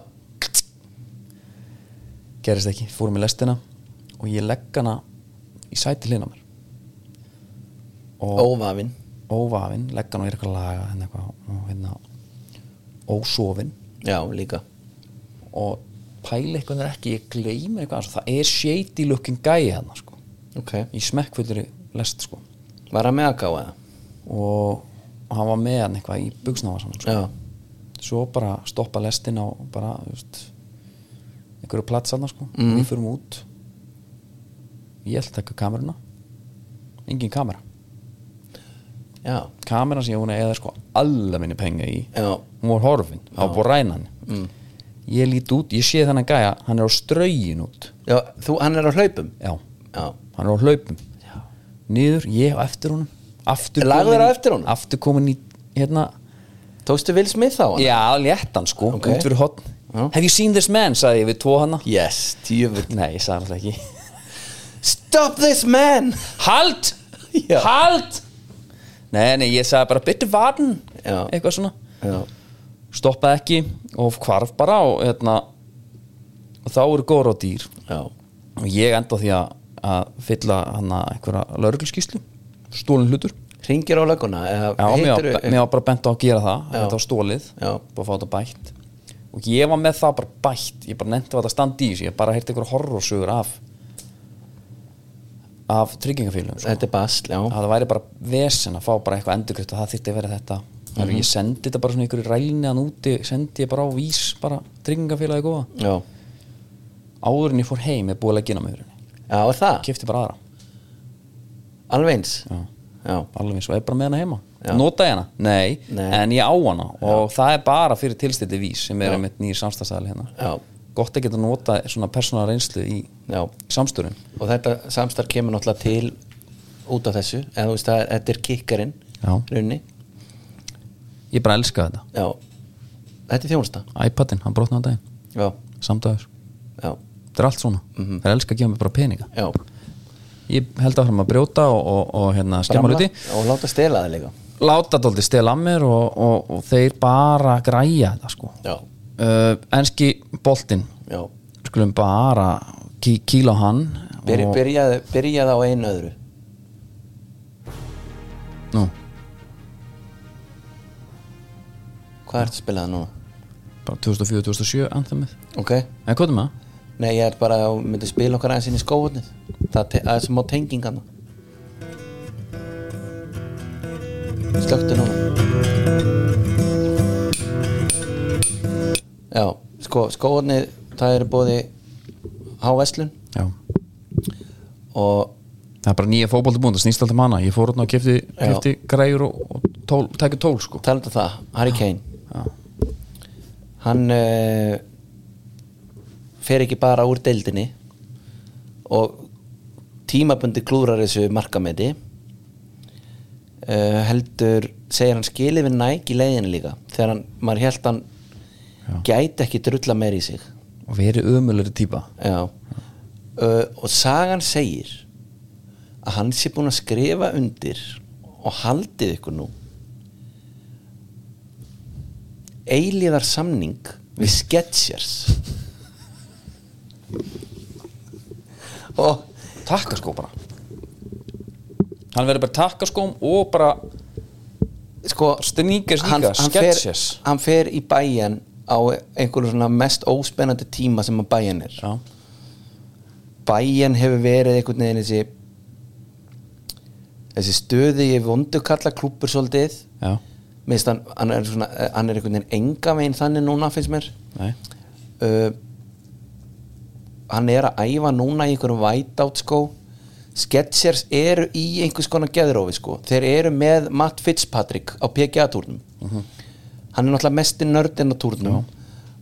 Speaker 1: gerist ekki, fórum í lestina og ég legg hana í sæti hlina mér og
Speaker 2: óvafin
Speaker 1: óvafinn, legg hana og ég er eitthvað að laga hérna eitthvað og hérna ósofinn
Speaker 2: Já, líka
Speaker 1: og pæli eitthvað er ekki, ég gleymi eitthvað annars. það er shady looking gæi hérna sko,
Speaker 2: Ok
Speaker 1: í smekkfullri lest sko
Speaker 2: Var hann með að gáða?
Speaker 1: og, og hann var með hann eitthvað í buksnáfa saman sko.
Speaker 2: Já
Speaker 1: svo bara stoppa lestina og bara þú veist, einhverju platsanna sko
Speaker 2: Mhm.
Speaker 1: mm. við förum út ég ætla að taka kameruna engin kamera
Speaker 2: Já,
Speaker 1: kamera sem ég hún eða sko alla minni penga í
Speaker 2: já,
Speaker 1: hún var horfin, það var búið að ræna hann mm. ég lít út, ég sé þennan gæja hann er á strögin út
Speaker 2: já þú, hann er á hlaupum
Speaker 1: já,
Speaker 2: Já,
Speaker 1: hann er á hlaupum já. niður, ég á eftir honum aftur
Speaker 2: Lagður
Speaker 1: kominn-
Speaker 2: á eftir honum?
Speaker 1: aftur komin í hérna
Speaker 2: tókstu Will Smith á hann?
Speaker 1: Já, léttan sko,
Speaker 2: Ok.
Speaker 1: út fyrir hotn
Speaker 2: Já.
Speaker 1: Have you seen this man, sagði ég við tvo hana
Speaker 2: Yes, djöfur
Speaker 1: Nei, ég sagði alltaf ekki
Speaker 2: Stop this man
Speaker 1: Halt!
Speaker 2: Já.
Speaker 1: Halt! Nei, nei, ég sagði bara bitte varn
Speaker 2: Já.
Speaker 1: Eitthvað svona
Speaker 2: Já,
Speaker 1: Stoppaði ekki og hvarf bara og, hérna, og þá eru góra á dýr
Speaker 2: já,
Speaker 1: og ég enda á því að, að fylla hana einhverja lörgulskíslu stólin hlutur
Speaker 2: hringir á lögguna eða
Speaker 1: Já, mér var,
Speaker 2: hittirðu-
Speaker 1: mér var bara bent á að gera það
Speaker 2: eh, Já.
Speaker 1: þetta var stólið,
Speaker 2: Já.
Speaker 1: búið að fá þetta bætt og ég var með það bara bætt ég bara nefndi að þetta standi í þessu, ég bara heyrti einhver horrorsögur af af tryggingafélum sko.
Speaker 2: Þetta er basl, já
Speaker 1: að það væri bara vesen að fá bara eitthvað endurgrift og það þyrfti að vera þetta mm
Speaker 2: Mhm.
Speaker 1: ég sendi þetta bara svona ykkur rælniðan úti sendi ég bara á vís, bara tryggingafélagi góða
Speaker 2: Já,
Speaker 1: áður en ég fór heim, ég búið að leggja inn á möðurinni
Speaker 2: já er það,
Speaker 1: kefti bara aðra,
Speaker 2: alveg eins
Speaker 1: Já.
Speaker 2: já,
Speaker 1: alveg eins og er bara með hana heima
Speaker 2: Já.
Speaker 1: nota ég hana? Nei,
Speaker 2: Nei.
Speaker 1: en ég á hana og það er bara fyrir tilstætti vís sem er
Speaker 2: Já.
Speaker 1: einmitt nýjir samstæðsæðal hérna
Speaker 2: já,
Speaker 1: gott að geta nota svona persónal reynslu í
Speaker 2: já.
Speaker 1: samstörum
Speaker 2: og þetta samstarf kemur náttúrulega til út af þessu eða þú veist að þetta er kikkarinn
Speaker 1: Já.
Speaker 2: runni
Speaker 1: ég bara elska þetta,
Speaker 2: já. þetta er þjónusta
Speaker 1: iPadin, hann brotnaði á daginn
Speaker 2: já,
Speaker 1: samdæður,
Speaker 2: já,
Speaker 1: þetta er allt svona mm
Speaker 2: Mhm.
Speaker 1: það er elska að gefa mér bara peninga
Speaker 2: já
Speaker 1: ég held áfram að brjóta og, og, og hérna skemmar
Speaker 2: Framla-
Speaker 1: úti,
Speaker 2: og láta stela það líka
Speaker 1: láta dóldi stela að mér og, og, og þeir bara græja þetta sko
Speaker 2: já,
Speaker 1: uh, enski boltinn
Speaker 2: já,
Speaker 1: skulum bara kí, kíla á hann
Speaker 2: Byrja,
Speaker 1: og-
Speaker 2: byrjaði, byrjaði á einu öðru
Speaker 1: Nú,
Speaker 2: hvað ertu að spila það núna?
Speaker 1: bara 2004-2007 anthemið
Speaker 2: ok,
Speaker 1: En hvað er með það?
Speaker 2: nei ég er bara að myndi spila okkar aðeins inn í skóðunni það te- það er sem á tengingana slöktu núna já, sko skóðunni það eru bóði háveslun
Speaker 1: Já
Speaker 2: og
Speaker 1: Það er bara nýja fótbolti búin, það snýst alltaf manna Ég fór hérna og kefti,
Speaker 2: Já.
Speaker 1: kefti græjur og, og tól, tækja tól sko
Speaker 2: talandi um það, Harry Kane hann uh, fer ekki bara úr deildinni og tímabundi klúrar þessu markameti uh, heldur segir hann skilið við næk í leiðinni líka þegar hann, maður held hann gæti ekki drulla meir í sig
Speaker 1: Og verið ömulegri típa
Speaker 2: Já. Uh, og sagan segir að hann sé búin að skrifa undir og haldið ykkur nú eilíðar samning við Skechers og
Speaker 1: Takkaskó bara Hann verður bara takkaskóm og bara
Speaker 2: sko
Speaker 1: Sneakers líka,
Speaker 2: fer,
Speaker 1: Skechers.
Speaker 2: hann fer í bæjan á einhverju svona mest óspennandi tíma sem að bæjan er
Speaker 1: Já,
Speaker 2: bæjan hefur verið einhvern veginn þessi þessi stöði ég vondu kalla klúpur svolítið
Speaker 1: já,
Speaker 2: minnst hann, hann er svona hann er einhvern veginn enga veginn þannig núna finnst mér
Speaker 1: nei
Speaker 2: uh, hann er að æfa núna í einhverjum whiteout skó Skechers eru í einhvers konar geðrófi sko, þeir eru með Matt Fitzpatrick á PGA-túrnum hann er náttúrulega mesti nördin á túrnum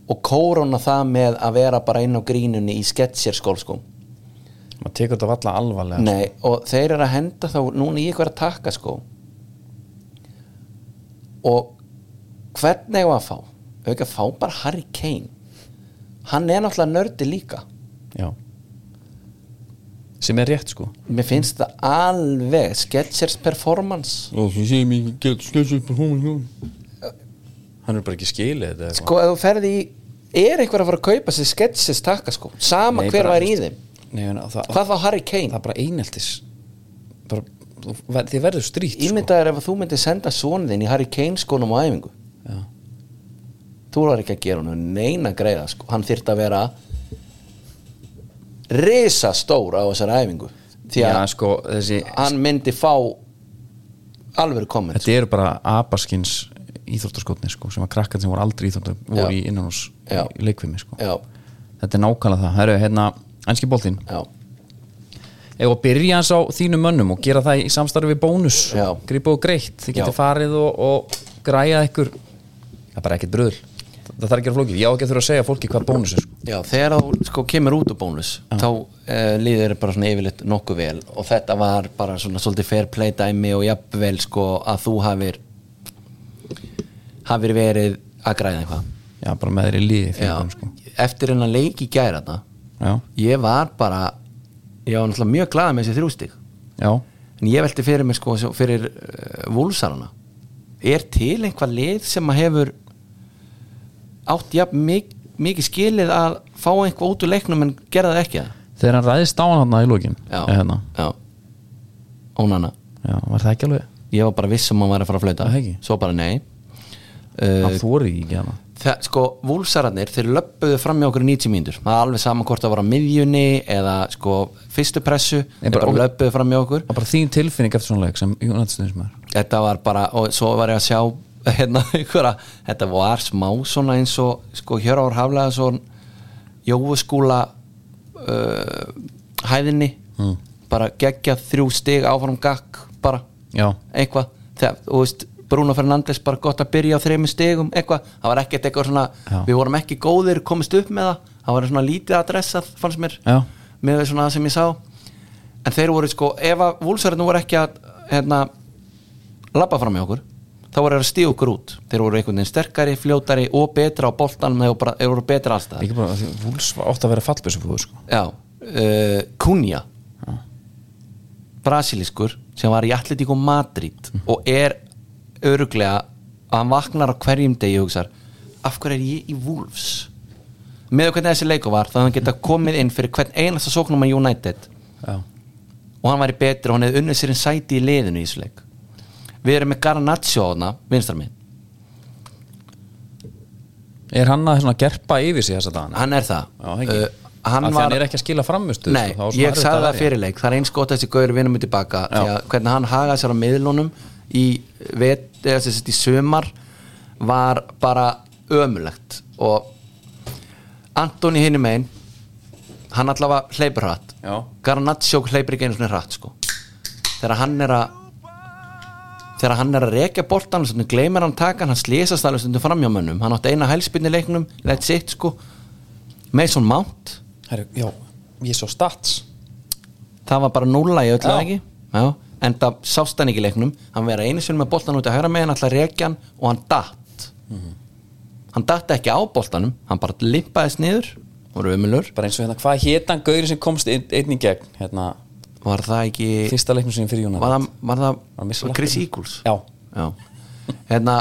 Speaker 2: og kórona það með að vera bara inn á grínunni í sko. Skechers skólskóm
Speaker 1: Maður tekur þetta valla alvarlega
Speaker 2: Nei, og þeir eru að henda þá núna í ykkur að taka sko og hvernig var að fá? Ef ekki að fá bara Harry Kane hann er náttúrulega nördi líka
Speaker 1: Já, sem er rétt sko
Speaker 2: Mér finnst það alveg Sketchers performance
Speaker 1: hann er bara ekki skilið þetta eða
Speaker 2: Sko, ef þú ferði í Er einhver að fara að kaupa sér Sketchers takka sko Sama
Speaker 1: Nei,
Speaker 2: hver
Speaker 1: bara-
Speaker 2: var í þeim
Speaker 1: eitthvað. Nei, en það,
Speaker 2: Hvað þá Harry
Speaker 1: það
Speaker 2: Kane?
Speaker 1: er bara eineltis bara, þú, ver- þið verður strýtt sko.
Speaker 2: Ímyndaður ef að þú myndir senda sonið þinn í Harry Kane skónum á æfingu
Speaker 1: Já.
Speaker 2: Þú var ekki að gera hann neina greiða sko Hann þyrft að vera risastór á þessari æfingu Því
Speaker 1: Já,
Speaker 2: að
Speaker 1: sko, þessi,
Speaker 2: hann myndi fá alveg komment
Speaker 1: þetta eru bara abaskins íþróttaskotni sko, sem að krakkan sem voru aldrei íþróttar voru í innan hús
Speaker 2: Já.
Speaker 1: í leikvimi sko.
Speaker 2: Já,
Speaker 1: þetta er nákvæmlega það, herru, hérna ænski boltinn,
Speaker 2: já,
Speaker 1: ef að byrja hans á þínum mönnum og gera það í samstarfi við bónus
Speaker 2: Já.
Speaker 1: gripa og greitt, þið
Speaker 2: Já.
Speaker 1: getur farið og, og græja ykkur það er bara ekkert bröðl það þarf ekki að flókið, ég á ekki að þurfa að segja fólki hvað bónus er sko.
Speaker 2: já þegar þú sko kemur út úr bónus þá uh, líður þér bara svona yfirleitt nokkuð vel og þetta var bara svona svolítið fair play dæmi og jafnvel sko að þú hafir hafir verið að græða eitthvað
Speaker 1: já, bara með þeirri líði fyrir þeim, sko.
Speaker 2: já, eftir hennar leik í gæra þetta
Speaker 1: já,
Speaker 2: ég var bara ég var náttúrulega mjög glaða með þessi þrjústig
Speaker 1: já,
Speaker 2: en ég velti fyrir mig sko sjá- fyrir uh, vúlsarana er til einhvað lið sem að hefur átt jafn mik mikið skilið að fá einhvað út úr leiknum en gera það ekki það
Speaker 1: þegar hann ræðist á hann hann í lókin
Speaker 2: já,
Speaker 1: hérna.
Speaker 2: já ónana,
Speaker 1: já, var það ekki alveg
Speaker 2: ég var bara viss um að hann var að fara að flauta
Speaker 1: Það ekki?
Speaker 2: svo bara nei uh,
Speaker 1: hann þóri ekki hérna. hana
Speaker 2: það, sko, vúlsararnir, þeir löppuðu fram í okkur í 90 mínútur, það er alveg sama hvort það var á miðjunni eða sko fyrstu pressu,
Speaker 1: Nei,
Speaker 2: þeir
Speaker 1: bara-
Speaker 2: bara, löppuðu fram í okkur
Speaker 1: og bara þín tilfinning eftir svona leik sem United stuðnismæður
Speaker 2: þetta var bara og svo var ég að sjá hérna einhverja, þetta var smá svona eins og sko Hjörvar Haflega svo Jóuskúla uh, hæðinni bara geggja þrjú stig áfram gakk bara
Speaker 1: já,
Speaker 2: eitthvað þegar, þú veist, Bruno Fernandes bara gott að byrja á þreimur stigum eitthvað, það var ekkert eitthvað svona
Speaker 1: Já.
Speaker 2: við vorum ekki góðir, komist upp með það það var svona lítið adressað, fannst mér
Speaker 1: Já.
Speaker 2: með svona það sem ég sá en þeir voru sko, ef að vúlsverðinu voru ekki að hérna labba fram í okkur, þá voru þeir að stíða okkur út þeir voru einhvern veginn sterkari, fljótari og betra á boltanum, þeir voru bara- þeir voru betra allstað
Speaker 1: ekki bara, því Wolves var ótt að vera fallbjössu fúðu sko.
Speaker 2: já, uh, Kunja brasilískur sem var í Atletico Madrid og er öruglega að hann vaknar á hverjum degi og hugsar af hverju er ég í Wolves með hvernig þessi leiku var þannig að hann geta komið inn fyrir hvern einasta sóknum að United
Speaker 1: já,
Speaker 2: og hann væri betri og hann hefði unnið sér en sæti í liðinu í þessu leik við erum með Garnaccio þarna, vinstar minn
Speaker 1: er hann að svona gerpa yfir sig þessa dagana
Speaker 2: hann er það,
Speaker 1: Já, það ekki.
Speaker 2: Uh, hann
Speaker 1: Af því
Speaker 2: var
Speaker 1: hann er ekki að skila sko, framustu
Speaker 2: Nei, ég sagði það fyrirleik, það er eins gott að þessi gaur vinum til baka,
Speaker 1: Já.
Speaker 2: því að hvernig hann hagaði sér á miðlunum í, vet, eða, sem sagt í sömar var bara ömulegt og Antoni hinum einn hann allavega hleypur hratt
Speaker 1: Já.
Speaker 2: Garnaccio hleypur ekki einu svona hratt sko. þegar hann er að þegar hann er að rekja boltan stundum gleymir hann takan, hann slésast alveg stundum framjá mönnum, hann átti eina hælspinni leiknum that's it sko Mason Mount,
Speaker 1: Heru, já, ég svo stats
Speaker 2: það var bara núla í öllu
Speaker 1: Já.
Speaker 2: eða ekki já. en það sást hann ekki í leiknum hann vera einu sinni með boltan út að hæra með hann alltaf rekjan og hann datt
Speaker 1: Mhm.
Speaker 2: hann datt ekki á boltanum hann bara limpaðist niður og römulur
Speaker 1: bara eins og hérna, hvað hétt hann gaurin sem komst einn, einn í gegn, hérna,
Speaker 2: var það ekki
Speaker 1: fyrsta leiknum sinni fyrir United
Speaker 2: var það, var
Speaker 1: Var að missa
Speaker 2: það
Speaker 1: lappirnar.
Speaker 2: Chris Eagles
Speaker 1: já,
Speaker 2: Já. hérna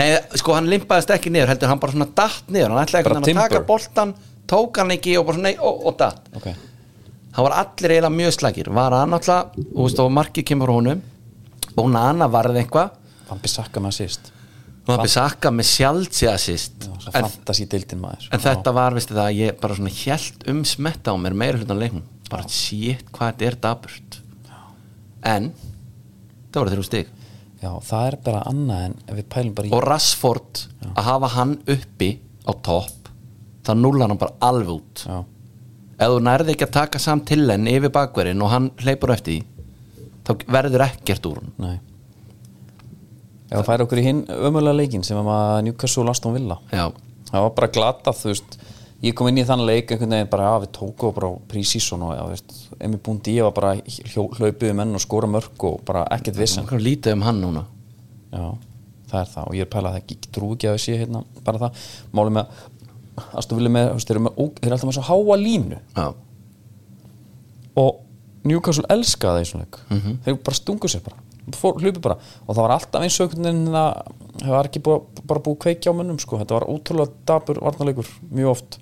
Speaker 2: Nei, sko hann limpaðist ekki niður, heldur hann bara svona datt niður, hann ætlaði
Speaker 1: Bara
Speaker 2: ekki að taka
Speaker 1: timber.
Speaker 2: boltan, tók hann ekki og bara svona, nei, og, og datt.
Speaker 1: ok
Speaker 2: það var allir eiginlega mjög slagir var hann alltaf, þú veist, og markið kemur frá honum og Nana varð eitthvað
Speaker 1: Van Bissaka með assist
Speaker 2: og hann besakka með sjálfsíða sýst
Speaker 1: já, svo
Speaker 2: en,
Speaker 1: fantasy dildin maður
Speaker 2: en þetta var, veistu það, ég bara svona hjælt um smetta á mér meira hlutan leiknum bara shit, hvað þetta er daburt en það voru þrjú stig
Speaker 1: já, það er bara annað en ef við pælum bara í
Speaker 2: og Rassford að hafa hann uppi á topp það núlar hann bara alveg út
Speaker 1: já,
Speaker 2: ef þú nærði ekki að taka samt til henn yfir bakverðin og hann hleypur á eftir því þá verður ekkert úr hann
Speaker 1: nei ef það færi okkur í hinn ömulega leikin sem að Newcastle og Aston Villa
Speaker 2: Já,
Speaker 1: það var bara glatað þú veist ég kom inn í þann leik einhvern veginn bara að við tóku og bara prísíson og já, þú veist emi búndi ég var bara hljó, hlaupið um enn og skora mörg og bara ekkert vissan
Speaker 2: okkur lítið um hann núna
Speaker 1: já, það er það og ég er pælað að það ekki trú ekki að það sé hérna bara það málið með að Aston Villa með, þú veist, þeir eru með ó- þeir eru alltaf með svo háa línu
Speaker 2: Já,
Speaker 1: og Newcastle elskaði þessum leik þeir bara stungu sér bara, fór, hlupu bara og það var alltaf eins og einhvern veginn að það var ekki búið, bara búið kveikja á mönnum sko. þetta var ótrúlega dabur varnarleikur mjög oft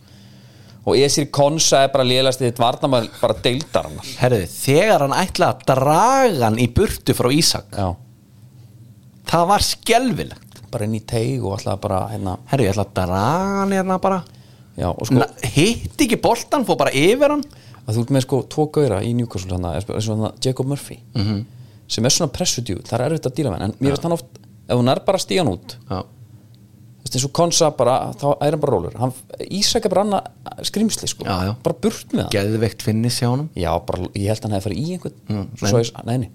Speaker 1: og Esir Konsa er bara lélasti þitt varnarmæl bara deildar hann
Speaker 2: Herðu, þegar hann ætlaði að draga hann í burtu frá Ísak
Speaker 1: Já,
Speaker 2: Það var skelvilegt
Speaker 1: bara inn í teig og alltaf bara hérna,
Speaker 2: Herðu, ég ætla að draga hann hérna bara
Speaker 1: já, og sko
Speaker 2: Na, Hitt ekki boltan, fór bara yfir hann
Speaker 1: að þú ert með sko tvo gauðra í Newcastle hérna, hana, er, er svona Jacob Murphy -hmm. sem er svona pressudjú, það er erfitt að díla með hann, en mér veist hann oft, ef hún er bara stíðan út
Speaker 2: Já,
Speaker 1: Þú veist, eins og Konsa bara, þá er hann bara rólur hann, Ísak er bara annað skrimsli sko.
Speaker 2: Já, já.
Speaker 1: bara burt með hann
Speaker 2: geðveikt finnis hjá honum
Speaker 1: já, bara, ég held að hann hefði farið í einhvern
Speaker 2: Mm,
Speaker 1: svo svo ég, neini,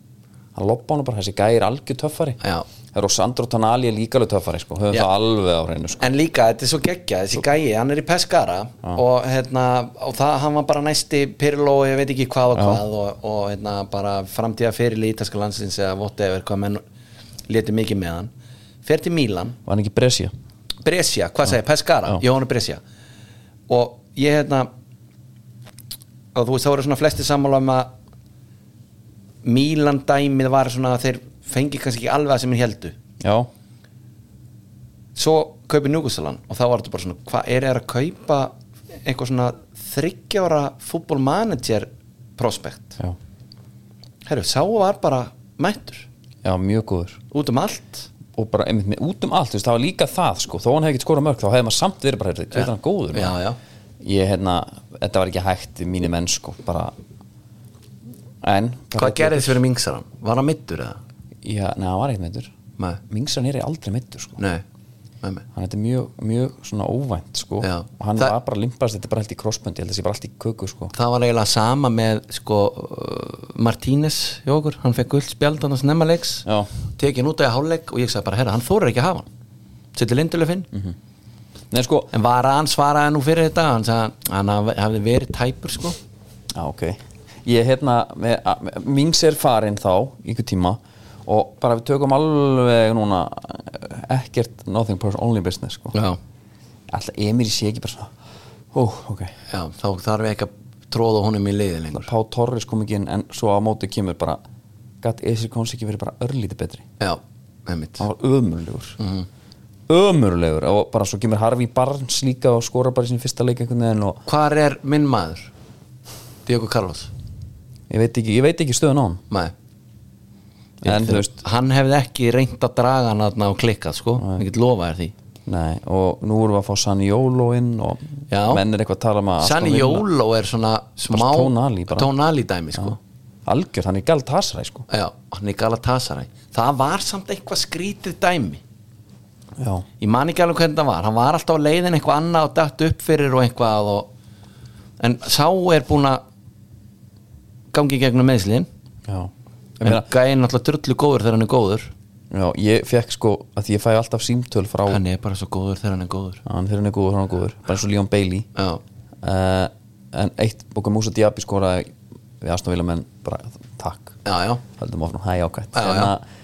Speaker 1: hann loppa hann bara þessi gæi er algjör töffari
Speaker 2: Já.
Speaker 1: það er og Sandro Tonali er líka alveg töffari sko. höfum
Speaker 2: Já.
Speaker 1: það alveg á hreinu sko.
Speaker 2: En líka, þetta er svo geggja, þessi gæi, hann er í Pescara og, hérna, og það, hann var bara næsti Pirlo, og ég veit ekki hvað og hvað og, og hérna, bara framtíða fyrir lítaska landsins eða whatever, hvað menn létu mikið með hann fer til Mílan,
Speaker 1: var hann ekki Brescia
Speaker 2: Brescia, hvað segir, Pescara,
Speaker 1: Já.
Speaker 2: Jóhann Brescia og ég hérna og þú veist, þá eru svona flesti sammála um að Mílan dæmið var svona að þeir fengi kannski ekki alveg að sem þeir heldu
Speaker 1: já,
Speaker 2: svo kaupir Njúkustalan og þá var þetta bara svona, hvað er það að kaupa eitthvað svona þryggjára fútbolmanager prospekt
Speaker 1: já,
Speaker 2: herru, sá var bara mættur
Speaker 1: já, mjög góður
Speaker 2: út um allt
Speaker 1: og bara einmitt með út um allt, þú veist, það var líka það sko. þó hann hefði ekki skorað mörg, þá hefði maður samt verið bara, þú veist, hann er góður
Speaker 2: já, já,
Speaker 1: ég, hérna, þetta var ekki hægt í mínu menn sko, bara en,
Speaker 2: hvað gerði þið fyrir mingsaran? var hann mittur eða?
Speaker 1: já, neða, hann var ekkert meittur
Speaker 2: nei,
Speaker 1: Mingsan er aldrei meittur sko.
Speaker 2: nei, nei, nei.
Speaker 1: hann þetta er mjög, mjög svona óvænt sko.
Speaker 2: Já.
Speaker 1: og hann
Speaker 2: Það-
Speaker 1: var bara limpast, þetta er bara allt í crossbund ég held að það sé bara allt í köku sko.
Speaker 2: það var eiginlega sama með sko, uh, Martínez hjá okkur, hann fekk guld spjald hann að snemma leiks
Speaker 1: Já.
Speaker 2: tekin út af hálfleik og ég sagði bara, herra, hann þórar ekki að hafa hann setið lindulöfinn
Speaker 1: Mhm. Nei, sko,
Speaker 2: en var hann svaraði nú fyrir þetta hann sagði, hann haf- hafði verið tæpur sko
Speaker 1: á, ok ég hérna, með- a- með- Mings er farinn þá í einhver tíma og bara við tökum alveg núna eh, ekkert nothing personal, only business sko.
Speaker 2: já,
Speaker 1: alltaf Emir sé ekki bara svona hú, ok,
Speaker 2: já þá þarf ekki að tróða honum í liði lengur
Speaker 1: Pá Torres kom ekki inn en svo á móti kemur bara gatt Esir Kons ekki verið bara örlítið betri
Speaker 2: já, einmitt
Speaker 1: hann var ömurlegur ömurlegur og bara svo kemur Harfi Barnes líka og skora bara í sin fyrsta leik einhvern veginn og
Speaker 2: hvar er minn maður? Diego Carlos
Speaker 1: ég veit ekki, ég veit ekki stöðun á hann
Speaker 2: Nei,
Speaker 1: en þú veist,
Speaker 2: hann hefði ekki reynd að draga hann aðna og klikkað sko, ég get lofa þér því
Speaker 1: nei og nú erum við að fá Sanni Jóló inn og
Speaker 2: Já.
Speaker 1: menn er eitthvað að tala um að
Speaker 2: Sanni
Speaker 1: Aston Villa-
Speaker 2: Jóló er svona smá
Speaker 1: Tonali bara.
Speaker 2: tónali dæmi sko
Speaker 1: algjör, hann er galt hasræ sko
Speaker 2: já, hann er Galatasaray það var samt eitthvað skrítið dæmi
Speaker 1: já,
Speaker 2: ég man ekki alveg hvernig það var hann var alltaf á leiðin eitthvað annað og datt upp fyrir og eitthvað og... en sá er búin að gangi í gegnum meðslin
Speaker 1: já ég,
Speaker 2: en
Speaker 1: meina,
Speaker 2: gæinn náttúrulega drullu góður þegar hann er góður
Speaker 1: já, ég fekk sko að því ég fæ alltaf símtöl frá hann,
Speaker 2: hann er bara svo góður þegar hann er góður
Speaker 1: hann þegar hann er góður, hann er góður bara eins og Leon Bailey
Speaker 2: já,
Speaker 1: uh, en eitt bóka Musa Diaby skoraði við Astonvila menn bara takk
Speaker 2: já, já,
Speaker 1: höldum áfram, það er jákvæmt
Speaker 2: Já,
Speaker 1: En
Speaker 2: já.
Speaker 1: að,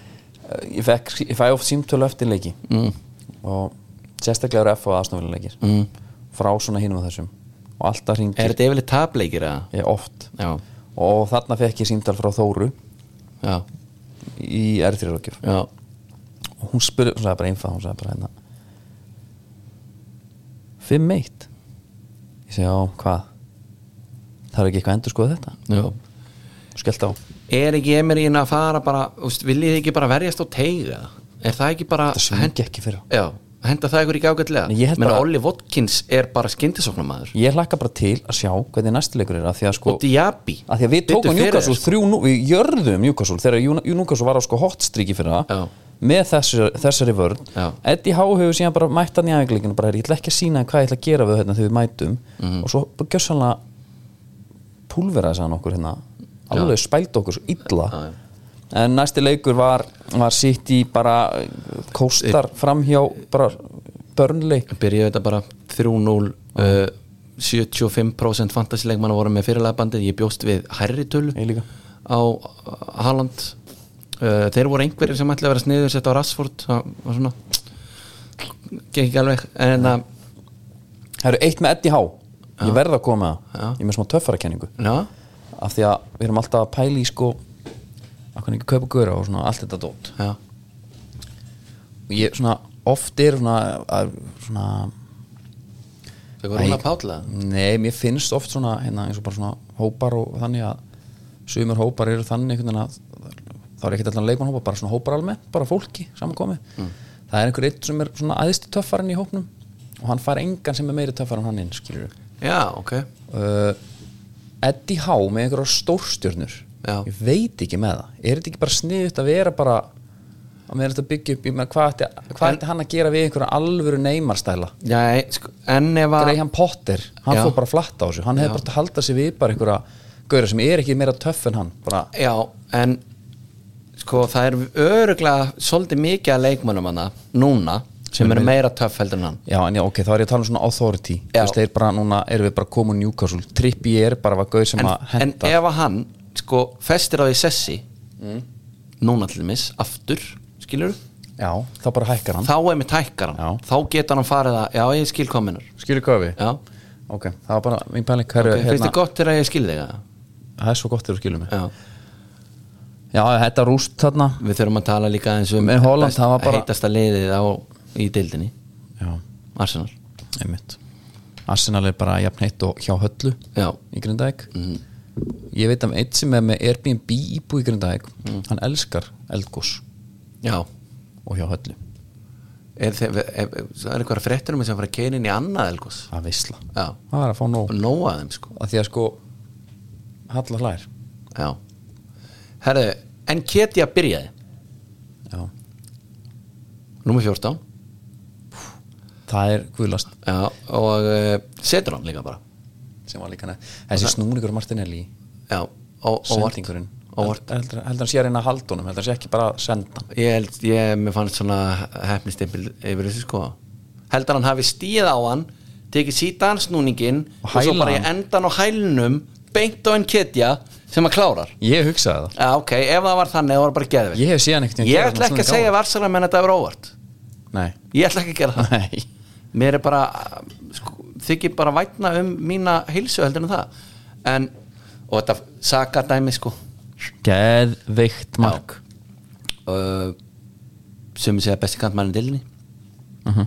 Speaker 1: eh, ég, fekk, ég fæ oft símtölu eftir leiki mm. og sérstaklega eru F og aðstofnilega leikir mm. frá svona hinum og þessum og alltaf
Speaker 2: er
Speaker 1: hringir
Speaker 2: þetta yfirleitt tapleikir eða?
Speaker 1: ég oft
Speaker 2: já,
Speaker 1: og þarna fekk ég símtal frá Þóru
Speaker 2: já,
Speaker 1: í R3-rökjur
Speaker 2: já
Speaker 1: og hún spurði, hún sagði bara einfað hún sagði bara hérna 5-1 ég segi já, hvað það er ekki eitthvað að endur skoða þetta
Speaker 2: já
Speaker 1: og skellt á,
Speaker 2: er ekki Emerín að fara bara úst, viljið þið ekki bara verjast á teiga er það ekki bara
Speaker 1: það svingi ekki fyrir
Speaker 2: já, henda það ykkur ekki
Speaker 1: Nei,
Speaker 2: ágætlega
Speaker 1: ég held
Speaker 2: menn
Speaker 1: bara-
Speaker 2: Olli Watkins er bara skyndisoknamaður
Speaker 1: ég hlakka bara til að sjá hvernig næstilegur er að því að sko
Speaker 2: og Diaby
Speaker 1: að því að við
Speaker 2: Biddu
Speaker 1: tókum
Speaker 2: fyrir
Speaker 1: Newcastle
Speaker 2: þér, sko.
Speaker 1: þrjú, nú- við jörðum Newcastle þegar Jú- Newcastle var á sko hot streaki fyrir
Speaker 2: Já.
Speaker 1: það með þessari, þessari vörn
Speaker 2: Já.
Speaker 1: Eddie Howe hefur síðan bara mætt hann í aðeinleikinu bara, ég ætla ekki að sína hvað ég ætla að gera við þetta þegar við mætum
Speaker 2: Mhm.
Speaker 1: og svo bara gjössanlega púlveraði sann okkur hérna alveg spælt okkur svo illa
Speaker 2: Já, já.
Speaker 1: en næsti leikur var, var sitt í bara uh, kóstar framhjá bara börnleik
Speaker 2: byrjaði þetta bara 3-0 uh, 75% fantasíleikmann voru með fyrirlæðbandið, ég bjóst við hærri tölu
Speaker 1: Ég líka.
Speaker 2: á Haaland uh, þeir voru einhverjir sem ætlaði að vera sniður sett á Rassford, það var svona gekk ekki alveg en uh, að,
Speaker 1: Það eru eitt með Eddie Howe ég verð að koma með það,
Speaker 2: Já.
Speaker 1: ég er með smá töffarakenningu
Speaker 2: já,
Speaker 1: af því að við erum alltaf að pæla í sko að hvernig ekki kaupa gura og svona allt þetta dót
Speaker 2: já,
Speaker 1: og ég svona oft er svona, að, svona
Speaker 2: það var hún að pátla
Speaker 1: nei, mér finnst oft svona hérna, eins og bara svona hópar og þannig að sumur hópar eru þannig einhvern veginn að þá er ekkert allan leikmannhópa, bara svona hópar alveg bara fólki samankomi það er einhver einn sem er svona æðsti töffarinn í hópnum og hann fær engan sem er meiri töffar en hann inn, skilur
Speaker 2: já, ok,
Speaker 1: uh, Eddie Howe með einhverja stórstjörnur
Speaker 2: Já.
Speaker 1: ég veit ekki með það er þetta ekki bara sniðut að vera bara að vera þetta byggja upp ég meina, hvað ætti, hvað ætti hann að gera við einhverja alvöru neymarstæla
Speaker 2: já, sko, en ef að
Speaker 1: Graham Potter, hann
Speaker 2: Já.
Speaker 1: fór bara flatt á þessu hann hefði bara átt að halda sig við bara einhverja gauðra sem er ekki meira töff en hann bara,
Speaker 2: já, en sko, það er öruglega svolítið mikið að leikmönnum hana núna, sem
Speaker 1: Mhm.
Speaker 2: eru meira töff heldur en hann
Speaker 1: já en já ok, þá er ég að tala um svona authority þú
Speaker 2: Já.
Speaker 1: veist, þeir bara núna erum við bara komin úr Newcastle trippi er bara var gauð sem
Speaker 2: en,
Speaker 1: að
Speaker 2: en
Speaker 1: henda
Speaker 2: ef að hann sko festir á því sessi núna til mis, aftur skilur,
Speaker 1: já, þá bara hækkar hann
Speaker 2: þá er með tækkar hann
Speaker 1: Já.
Speaker 2: þá getur hann farið að, já ég skil kominur
Speaker 1: skilur hvað við,
Speaker 2: já,
Speaker 1: ok, það var bara mín pæling, hérna- hverju,
Speaker 2: okay, finnst þið gott þegar ég skil þig eða?
Speaker 1: það er svo gott þegar þú skilur mig
Speaker 2: já,
Speaker 1: Já, þetta rúst þarna
Speaker 2: við þurfum að tala líka eins um
Speaker 1: Með Holland, það var bara-
Speaker 2: heitasta liðið á, í dildinni,
Speaker 1: Já,
Speaker 2: Arsenal
Speaker 1: einmitt Arsenal er bara jafn heitt og hjá höllu
Speaker 2: já,
Speaker 1: í Grindavík Ég veit um eitt sem er með Airbnb íbú í Grindavík Hann elskar eldgós
Speaker 2: já
Speaker 1: og hjá höllu
Speaker 2: er, þið, er, er, það er eitthvað fréttur um þess að fara að keira inn í annað elgos
Speaker 1: Það visla
Speaker 2: já,
Speaker 1: Það er að fá nóg
Speaker 2: og nóa þeim sko
Speaker 1: að Því að sko, Halla hlær
Speaker 2: já, herðu en Ketja byrjaði,
Speaker 1: Já.
Speaker 2: nummer 14
Speaker 1: Það er guðlast
Speaker 2: Já, og uh, setur hann líka bara
Speaker 1: sem var líka nefn Þessi snúningur Martinelli
Speaker 2: Já, og
Speaker 1: Sendingurinn
Speaker 2: Óvart.
Speaker 1: Heldur- Heldur heldur hann sé að reyna að halda honum Heldur hann sé ekki bara að senda hann
Speaker 2: Ég held, ég, mér fannst svona hefnistimpil yfir þessu sko Heldur hann hafi stíð á hann tekið síðan snúningin
Speaker 1: Og
Speaker 2: og svo
Speaker 1: hæla
Speaker 2: bara í
Speaker 1: hann.
Speaker 2: endan á hælnum beint á enn ketja sem að klárar
Speaker 1: Ég hugsaði það
Speaker 2: Já, ok, ef það var þannig, það var bara geðvill
Speaker 1: Ég hef síðan ekkert
Speaker 2: Ég ætla ekki að segja varsalega menn að þetta er óvart
Speaker 1: Nei,
Speaker 2: Ég ætla ekki að gera það
Speaker 1: nei
Speaker 2: Mér er bara, sko, þykir bara vætna um mína heilsu heldur en það En, og þetta saka dæmi sko
Speaker 1: Geðveikt mark
Speaker 2: uh, sem segja besti kantmann í delinni uh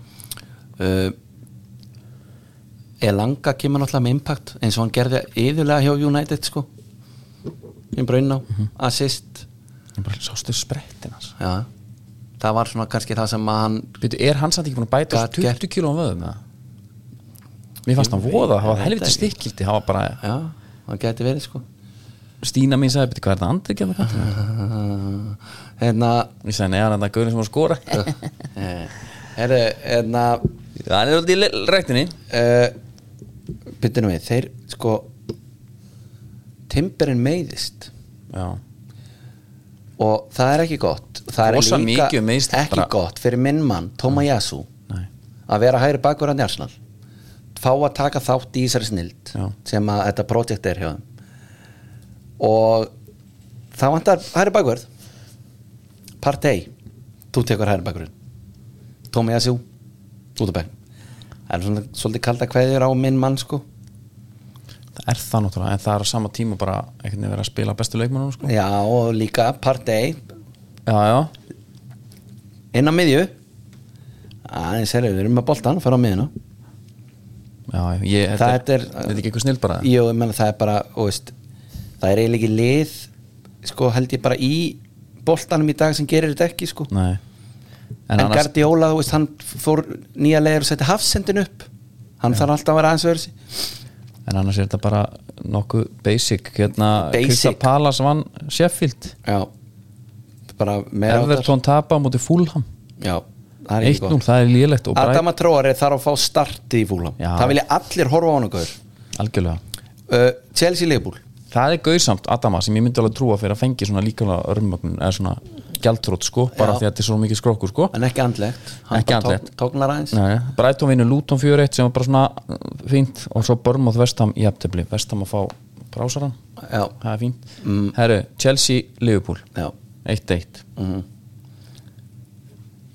Speaker 2: Elanga kemur náttúrulega með impact eins og hann gerði yfirlega hjá United sko í brunna, assist
Speaker 1: Ég bara sástu sprettin hans
Speaker 2: já, það var svona kannski það sem að hann
Speaker 1: Beidu, Er hann samt ekki búin að bæta
Speaker 2: Gat
Speaker 1: þessu 20 kílóum vöðum eða? Mér fannst hann voða, það var
Speaker 2: veit
Speaker 1: helviti
Speaker 2: ekki.
Speaker 1: stikkildi Það var bara,
Speaker 2: já, hann geti verið sko
Speaker 1: Stína mín sagði, beidu, hvað er það andri ekki að það?
Speaker 2: uh, hérna
Speaker 1: Ég sagði, neðan þetta gaurin sem var að skora
Speaker 2: eh, herru, hérna
Speaker 1: Það er alltaf í rektinni
Speaker 2: uh, byrjunum við, þeir sko timberinn meiðist
Speaker 1: Já,
Speaker 2: og það er ekki gott það
Speaker 1: Rosa
Speaker 2: er líka
Speaker 1: mikið um meiðsli,
Speaker 2: ekki
Speaker 1: bara- Mm.
Speaker 2: gott fyrir minn mann, Tomayasu
Speaker 1: nei,
Speaker 2: að vera hægri bakur hann í Arsenal fá að taka þátt í Ísari snild
Speaker 1: Já.
Speaker 2: sem að þetta projekt er hjá þeim og þá vantar hægri bakur partei þú tekur hægri bakurinn Tomayasu, út af bæk það er svona svolítið kalda kveðjur á minn mann sko
Speaker 1: það er það náttúrulega En það er á sama tíma bara einhvern veginn verið að spila bestu leikmennum sko.
Speaker 2: já og líka partei
Speaker 1: Já, já,
Speaker 2: inn á miðju aðeins herri, við erum með boltan og fyrir á miðjuna
Speaker 1: já, ég, þetta
Speaker 2: Það er-
Speaker 1: Þetta er ekki eitthvað snill bara
Speaker 2: Jú, ég menna það er bara þú veist, það er eiginlega ekki lið sko held ég bara í boltanum í dag sem gerir þetta ekki sko en,
Speaker 1: Nei En,
Speaker 2: en
Speaker 1: annars,
Speaker 2: Guardiola, þú veist, hann fór nýja leiður og setti hafsendin upp hann þarf alltaf að vera aðeins verið
Speaker 1: en annars er þetta bara nokkuð basic hérna,
Speaker 2: Basic.
Speaker 1: Krista Palas vann Sheffield
Speaker 2: já, bara meira
Speaker 1: Everton tapa á móti Fulham
Speaker 2: áttar. já, það er ekki
Speaker 1: 1-0,
Speaker 2: gott
Speaker 1: það er lélegt og bara
Speaker 2: Adama Tróari þarf að fá starti í fúlam
Speaker 1: Já.
Speaker 2: það vilja allir horfa á hann og gaur
Speaker 1: algjörlega
Speaker 2: uh, Chelsea Leifbúl
Speaker 1: Það er gauðsamt Adama sem ég myndi alveg trúa fyrir að fengi svona líkala örmögnun eða svona gjaldtrótt sko bara
Speaker 2: Já.
Speaker 1: því að þetta er svo mikið skrókur sko
Speaker 2: en ekki andlegt, hann
Speaker 1: Ekki
Speaker 2: bara
Speaker 1: andlegt.
Speaker 2: tók- tóknar aðeins
Speaker 1: Nei, Brighton vinnu Luton 4-1 sem var bara svona uh, fínt og svo Börmóð Vestam í aftefli Vestam að fá brásaran
Speaker 2: já,
Speaker 1: það er fínt
Speaker 2: Mm.
Speaker 1: Herru, Chelsea, Liverpool
Speaker 2: já,
Speaker 1: 1-1
Speaker 2: mhm,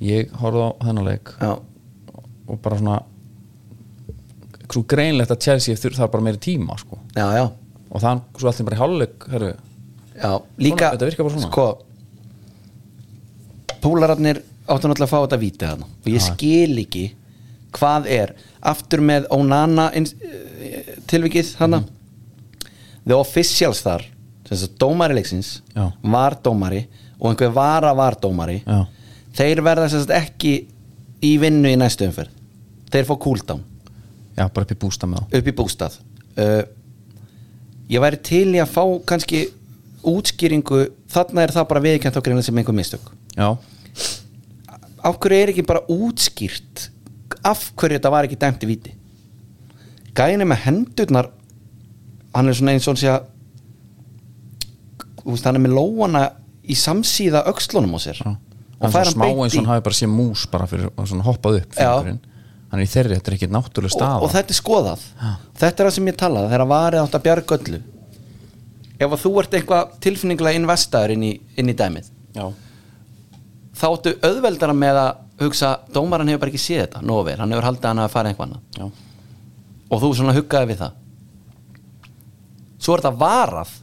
Speaker 1: ég horfði á þennan leik
Speaker 2: já
Speaker 1: og bara svona svo greinlegt að Chelsea þurr- þarf bara meiri tíma sko
Speaker 2: já, já,
Speaker 1: og þann svo allir bara í hálfleik herru,
Speaker 2: Já, líka
Speaker 1: þetta virkar bara svona.
Speaker 2: sko, Púlararnir áttu náttúrulega að fá þetta víti þarna og ég skil ekki hvað er aftur með Onana ins- eh, tilvikið hana
Speaker 1: Mhm.
Speaker 2: The Officials þar sem þess að dómari leiksins
Speaker 1: Já.
Speaker 2: var dómari og einhver vara var dómari
Speaker 1: Já.
Speaker 2: þeir verða sem sagt ekki í vinnu í næstu umferð þeir fá cooldown
Speaker 1: já, bara upp í bústa með þá
Speaker 2: upp í bústað uh, ég væri til í að fá kannski útskýringu þarna er það bara viðkjönt okkur sem einhver mistök
Speaker 1: já,
Speaker 2: af hverju er ekki bara útskýrt af hverju þetta var ekki dæmt í viti gæðin er með hendurnar hann er svona eins og hann sé að þú veist, hann er með lóana í samsíða öxlunum á sér
Speaker 1: já.
Speaker 2: og
Speaker 1: hann
Speaker 2: fær
Speaker 1: er
Speaker 2: hann
Speaker 1: smá eins
Speaker 2: beint
Speaker 1: og
Speaker 2: í
Speaker 1: hann hafi bara sé mús bara fyrir og svona hoppað upp
Speaker 2: Já.
Speaker 1: fingurinn. hann er í þeirri, þetta er ekki náttúrulega
Speaker 2: og,
Speaker 1: staða
Speaker 2: og þetta er skoðað þetta er það sem ég talaði, þegar varið átt að bjarga öllu ef að þú ert eitthvað tilfinningulega investaður inn í, inn í dæmið
Speaker 1: já,
Speaker 2: þá áttu auðveldara með að hugsa dómaran hefur bara ekki séð þetta, nóver, hann hefur haldið að hann að fara eitthvað annað
Speaker 1: já,
Speaker 2: og þú svona huggaði við það svo er þetta varað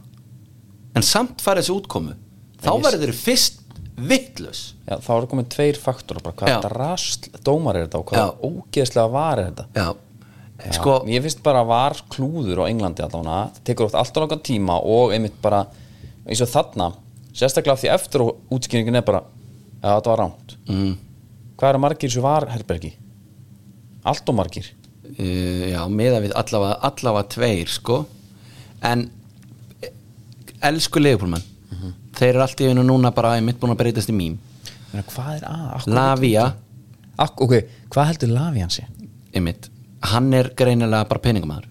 Speaker 2: en samt farið þessu útkomu þá
Speaker 1: Ég-
Speaker 2: verður þeir fyrst vittlus
Speaker 1: já, þá eru komin tveir faktor bara hvað
Speaker 2: Já.
Speaker 1: þetta rast, dómar er þetta og hvað
Speaker 2: Já.
Speaker 1: ógeðslega var er þetta
Speaker 2: já, sko
Speaker 1: ég finnst bara var klúður á Englandi allavega, það tekur oft alltaf langan tíma og einmitt bara eins og þarna, sérstaklega af því eftir og útskýringin er bara, að þetta var rámt mm. hvað eru margir sem var herbergi? Allt og margir
Speaker 2: uh, já, meða við allavega, allavega tveir sko en eh, elsku leifupólmenn þeir eru allt í einu núna bara einmitt búin að breytast í mím
Speaker 1: Meina, hvað er að? Akkur,
Speaker 2: Lavia,
Speaker 1: ak ok, hvað heldur lafi hans ég?
Speaker 2: einmitt hann er greinilega bara peningumæður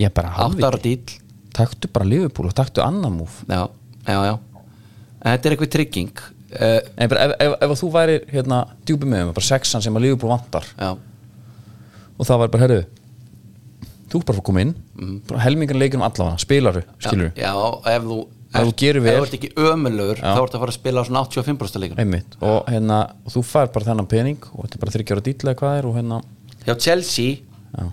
Speaker 1: Ég er bara
Speaker 2: átt ára
Speaker 1: hafði
Speaker 2: dýll
Speaker 1: Taktu bara Liverpool og taktu annan múf
Speaker 2: já, já, já En þetta er eitthvað trygging uh,
Speaker 1: Nei, bara, ef, ef, ef þú væri hérna djúpi með um, bara sexan sem að Liverpool vantar
Speaker 2: já,
Speaker 1: og það væri bara, herru þú ert bara að koma inn mm. helmingan leikur um allavega, spilaru, skilur
Speaker 2: já, ef þú
Speaker 1: Ef þú gerir vel.
Speaker 2: ef þú ert ekki ömulur þá ertu að fara að spila á svona 85% leikar
Speaker 1: einmitt, og hérna og þú fær bara þennan pening og þetta er bara þryggjára dýtla eða hvað er og hérna,
Speaker 2: hjá Chelsea
Speaker 1: já,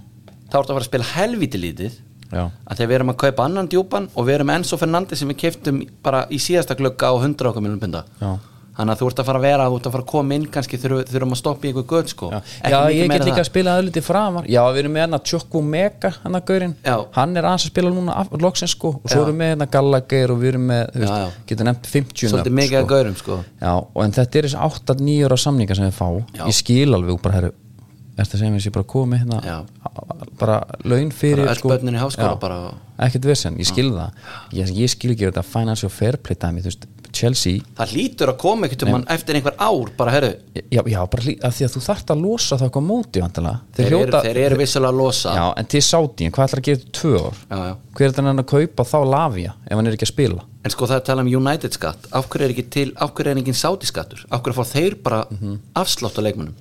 Speaker 2: þá ertu að fara að spila helvíti lítið
Speaker 1: já,
Speaker 2: að þegar við erum að kaupa annan djúpan og við erum með Enzo Fernandi sem við keftum bara í síðasta glugga á 100 okkar miljón punda
Speaker 1: Já.
Speaker 2: þannig að þú ert að fara að vera þú ert að fara að koma inn kannski þurfum þurfum að stoppa í eitthvað göð sko.
Speaker 1: já.
Speaker 2: Ekki
Speaker 1: já
Speaker 2: mikið
Speaker 1: ég get
Speaker 2: meira en
Speaker 1: líka
Speaker 2: það.
Speaker 1: að spila aðliti framar, já við erum með hérna Tjokku Mega, hérna Gaurinn
Speaker 2: Já.
Speaker 1: hann er aðeins að spila núna af, loksins sko og svo
Speaker 2: Já.
Speaker 1: erum við með hérna Gallagher og við erum með, þú
Speaker 2: Já, já.
Speaker 1: veist, getur nefnt 50
Speaker 2: svolítið
Speaker 1: nöfn,
Speaker 2: mikið að gaurum sko.
Speaker 1: Já, og en þetta er þessi 8-9 ára samninga sem við fá,
Speaker 2: Já.
Speaker 1: ég skil alveg og bara herru, ertu að segja mér sem ég bara komið hérna
Speaker 2: Já.
Speaker 1: bara laun fyrir sko.
Speaker 2: Bara öll börnin í háskóla
Speaker 1: Já.
Speaker 2: bara.
Speaker 1: ekkert vesen, ég skil það ég, ég skil ekki þetta financial fair play dæmi, þú veist, Chelsea
Speaker 2: það hlýtur að koma ekkert um hann eftir einhver ár bara herru,
Speaker 1: já, já bara lí, að því að þú þarft að losa það eitthvað á móti vandala, þeir,
Speaker 2: þeir,
Speaker 1: hljóta
Speaker 2: eru, þeir eru vissulega að losa
Speaker 1: já, en til sátíin, hvað ætlar að gera þetta tvö ár
Speaker 2: Já, já.
Speaker 1: hver er þannig að kaupa þá lafja ef hann er ekki að spila
Speaker 2: En sko það er að tala um United skatt Af hverju er ekki til, af hverju er engin Saudi skattur Af hverju fá þeir bara afslátt á leikmunum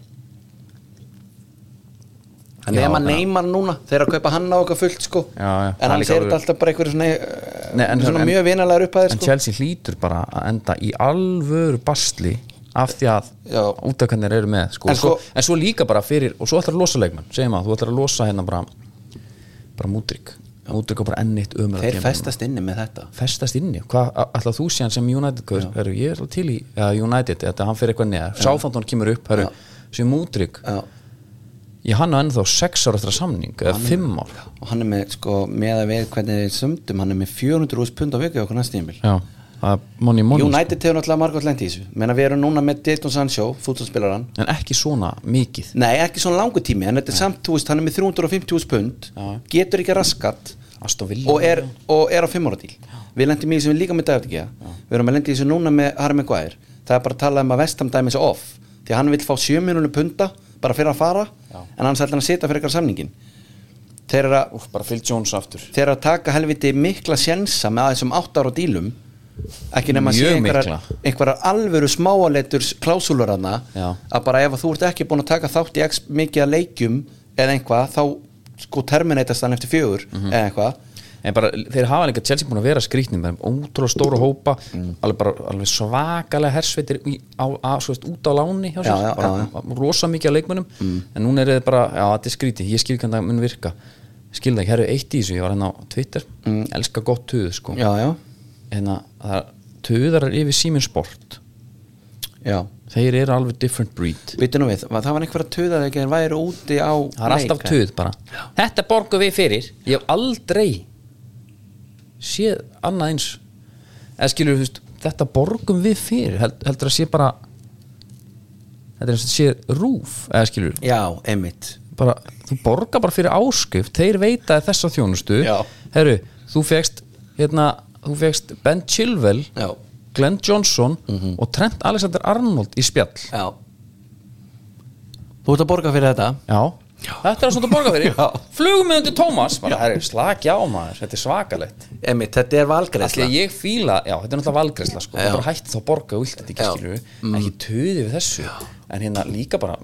Speaker 2: En
Speaker 1: Já,
Speaker 2: ef maður
Speaker 1: en-
Speaker 2: neymar núna Þeir eru að kaupa hann á okkar fullt sko
Speaker 1: Já, já, það er
Speaker 2: En hann
Speaker 1: líka
Speaker 2: segir þetta
Speaker 1: alveg-
Speaker 2: alltaf bara einhverju svona,
Speaker 1: Nei,
Speaker 2: Nei,
Speaker 1: en-
Speaker 2: svona
Speaker 1: en-
Speaker 2: Mjög vinalegar upphæðir
Speaker 1: en
Speaker 2: sko
Speaker 1: Chelsea hlýtur bara að enda í alvöru bastli af því að
Speaker 2: Já.
Speaker 1: útakarnir eru með sko.
Speaker 2: En
Speaker 1: En, svo,
Speaker 2: sko-
Speaker 1: en svo líka bara fyrir og svo ætlar að losa leikmenn, segjum að þú ætlar að losa hérna bara, bara mútrik mútrik og bara ennitt ömur
Speaker 2: Þeir festast inni með þetta
Speaker 1: festast inni, hvað ætlar þú síðan sem United gaur, heru, ég er alveg til í uh, United, þetta hann fyrir eitthvað neðar, sáfandun kemur upp heru, sem mútrik,
Speaker 2: Já.
Speaker 1: ég hann á ennþá sex ára eftir að samning, eða fimm ár
Speaker 2: Og hann er með sko með að við hvernig þeir sömdum Hann er með 400 ús pund á viku hjá okkur næst tímil
Speaker 1: já, það er money money sko.
Speaker 2: United hefur náttúrulega margótt lent í þessu Menna við erum núna með Dayton Sancho, fútbolspilaran
Speaker 1: en ekki svona mikið
Speaker 2: Nei, ekki svona langu tími en þetta er samt, þú veist, hann er með 350.000 pund getur ekki raskat
Speaker 1: Aston Villa
Speaker 2: og er, og er á 5 ára díl við lendum í þessu líka með David Gea við erum að lenda í þessu núna með Harry Maguire það er bara að tala um að vestam dæmis off því að hann vil fá 7 miljonum punda bara fyrir að fara, en hans ætlar hann að sita fyrir eitthvað samningin þeir eru að,
Speaker 1: Úf, bara Phil Jones aftur
Speaker 2: þeir eru að taka helviti mikla sjensa með þessum 8 ára dílum ekki nema að sé
Speaker 1: Mjög
Speaker 2: einhverjar,
Speaker 1: mikla.
Speaker 2: einhverjar alvöru smáaleturs klásúlur hana
Speaker 1: Já.
Speaker 2: að bara ef þú ert ekki búin að taka þátt í x mikið að leikjum eða einhvað þá sko terminatast hann eftir fjögur
Speaker 1: Mhm.
Speaker 2: eða einhvað
Speaker 1: en bara þeir hafa líka Chelsea búin að vera skrýtni með ótrúlega stóra hópa
Speaker 2: Mm.
Speaker 1: alveg, bara, alveg svakalega hersveitir í, á, á, svo veist, út á láni hjá sér
Speaker 2: Já, Mm. já,
Speaker 1: bara, rosa mikið af leikmönnum en núna eru þeir bara, já þetta er skrýti, ég skil ekki hvernig það mun virka skil það ekki, herru, eitt í þessu ég var hérna á Twitter, elska gott tuð sko.
Speaker 2: Mm. já, já,
Speaker 1: hérna, það er tuðarar yfir síminn sport
Speaker 2: já
Speaker 1: þeir eru alveg different breed
Speaker 2: Býtu nú við, var- það var einhver að tuða þegar þeir væri úti á
Speaker 1: það er alltaf tuð bara þetta borgum við fyrir, ég hef aldrei séð annað eins eða skilur þú veist þetta borgum við fyrir, Held, heldur að sé bara þetta er eins og þetta sé rúf eða skilur,
Speaker 2: Já, einmitt
Speaker 1: bara, þú borgar bara fyrir áskrift þeir veita þér þessa þjónustu
Speaker 2: Já.
Speaker 1: herru, þú fegst hérna, þú fegst Ben Chilwell
Speaker 2: Já,
Speaker 1: Glenn Johnson og Trent Alexander Arnold í spjall
Speaker 2: já Þú ert að borga fyrir þetta
Speaker 1: já, þetta er svona að borga fyrir
Speaker 2: Já.
Speaker 1: flugum við undir Tómas bara, herru, slakja á maður, þetta er svakalegt
Speaker 2: Einmitt, þetta er
Speaker 1: Því
Speaker 2: valgreðsla
Speaker 1: að ég fíla, já, þetta er náttúrulega valgræsla sko.
Speaker 2: Já.
Speaker 1: það er bara hætti þá að borga og vilt þetta ekki
Speaker 2: Já.
Speaker 1: skilur mm. ekki töði við þessu en hérna líka bara,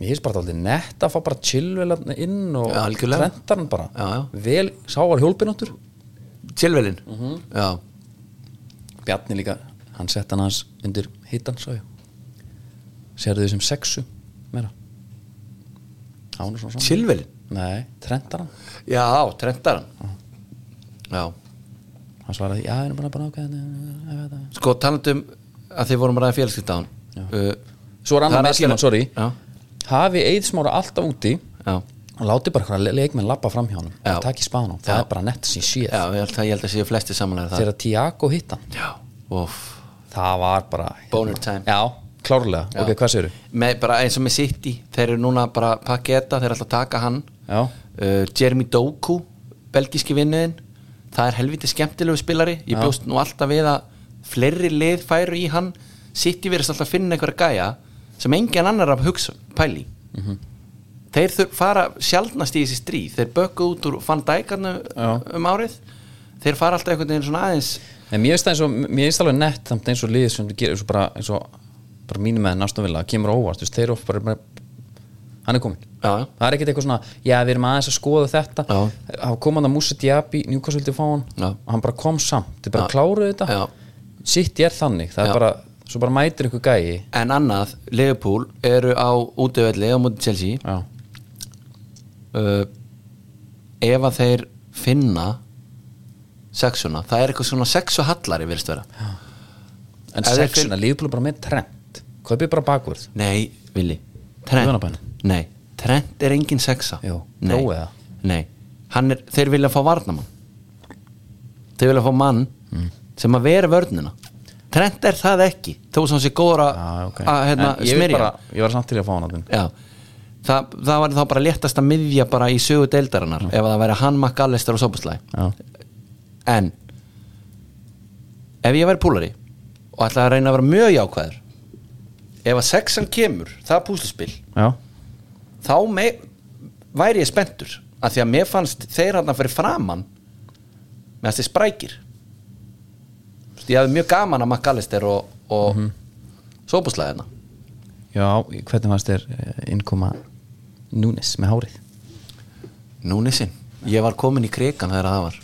Speaker 1: mér hefist bara aldrei nett að fá bara chillvelarna inn og
Speaker 2: Já, algjörlega.
Speaker 1: trentarn bara
Speaker 2: Já, já.
Speaker 1: vel sáar hjólpinóttur
Speaker 2: Silvelin Já,
Speaker 1: Bjarni líka, hann sett hann hans undir hittan, sá ég sérðu þau sem sexu meira hann er svona svona
Speaker 2: Silvelin
Speaker 1: nei, trendar hann,
Speaker 2: Já, trentar hann Já,
Speaker 1: hann svaraði já, ég hérna, er bara bara ákveðan
Speaker 2: sko talandum að þið vorum að ræða félagskiptaðan uh,
Speaker 1: svo er
Speaker 2: Það er
Speaker 1: annar með
Speaker 2: algjörlega-
Speaker 1: tíma, sorry
Speaker 2: Já.
Speaker 1: hafi eiðsmára alltaf úti
Speaker 2: Já,
Speaker 1: og láti bara hverja leikmenn lappa fram hjá hann
Speaker 2: Já.
Speaker 1: og taki spanum, það
Speaker 2: Já.
Speaker 1: er bara nett sem sé
Speaker 2: já ég, held, að- ég held að séu flesti samanlega það
Speaker 1: þegar Tiago hitt hann,
Speaker 2: Já, óf
Speaker 1: það var bara
Speaker 2: Boner time.
Speaker 1: já, klárlega, ok, hvað segirðu?
Speaker 2: með, bara eins og með City þeir eru núna bara að pakka þetta þeir eru alltaf að taka hann
Speaker 1: Já.
Speaker 2: uh, Jeremy Doku, belgíski vinnuðin það er helviti skemmtilegu spilari ég bjóst nú alltaf við að fleiri lið færu í hann City verðist alltaf að finna einhverja gæja sem engin annar af hugsa pæli mm -hmm. þeir þur, fara sjaldnast í þessi stríð þeir bökku út úr Van Dijkarnu um árið þeir fara alltaf einhvern veginn svona aðeins
Speaker 1: En mér finnst það eins og, mér finnst alveg nett samt eins og liðið sem þú gerir eins og bara, eins og bara mínum með náttúrulega, kemur á óvart, þú veist, þeir eru oft bara, bara hann er komin.
Speaker 2: Já, já.
Speaker 1: Það er ekkert eitthvað svona, já, við erum aðeins að skoða þetta,
Speaker 2: Já.
Speaker 1: hafa koman að Musa Diaby, Newcastle vildi fá hann,
Speaker 2: Já.
Speaker 1: og hann bara kom samt, þeir bara
Speaker 2: Já.
Speaker 1: kláruðu þetta,
Speaker 2: Já.
Speaker 1: sitt ég er þannig, það
Speaker 2: Já.
Speaker 1: er bara, svo bara mætir einhver gæi,
Speaker 2: en annað, Liverpool eru á útivelli á múti Chelsea
Speaker 1: já,
Speaker 2: uh, ef að þeir finna sexuna, það er eitthvað svona sexu hallari virðist vera,
Speaker 1: en
Speaker 2: Ef þeir
Speaker 1: sexuna, liðbúlu bara með trend, kaupið bara bakvörð,
Speaker 2: nei Vili,
Speaker 1: Guðanabænum.
Speaker 2: Trent nei, Trent er engin sexa
Speaker 1: Jú,
Speaker 2: nei,
Speaker 1: prófið það.
Speaker 2: nei. Hann Er, þeir vilja fá varnamann þeir vilja fá mann
Speaker 1: Mm.
Speaker 2: sem að vera vörnina Trent er það ekki, þó sem hann sé góður að
Speaker 1: Já, ok.
Speaker 2: að, hérna,
Speaker 1: En ég vil
Speaker 2: smyrja
Speaker 1: bara, ég var samt til að fá hann að þeim,
Speaker 2: Já, Þa, það var þá bara léttast að miðja bara í sögu deildarinnar
Speaker 1: Mm.
Speaker 2: ef að það væri hann makk allestur og sopurslæg
Speaker 1: já,
Speaker 2: en ef ég væri púlari og ætlaði að reyna að vera mjög jákvæður ef að sexan kemur það púsluspil,
Speaker 1: já,
Speaker 2: þá me, væri ég spenntur af því að mér fannst þeir hann að fyrir framann með þessi sprækir Þú veist, ég hafði mjög gaman að makk allestur og, og hérna. mm
Speaker 1: já, hvernig fannst þér eh, innkoma Núnes með hárið?
Speaker 2: Núni sinn, ég var komin í krigan þegar það var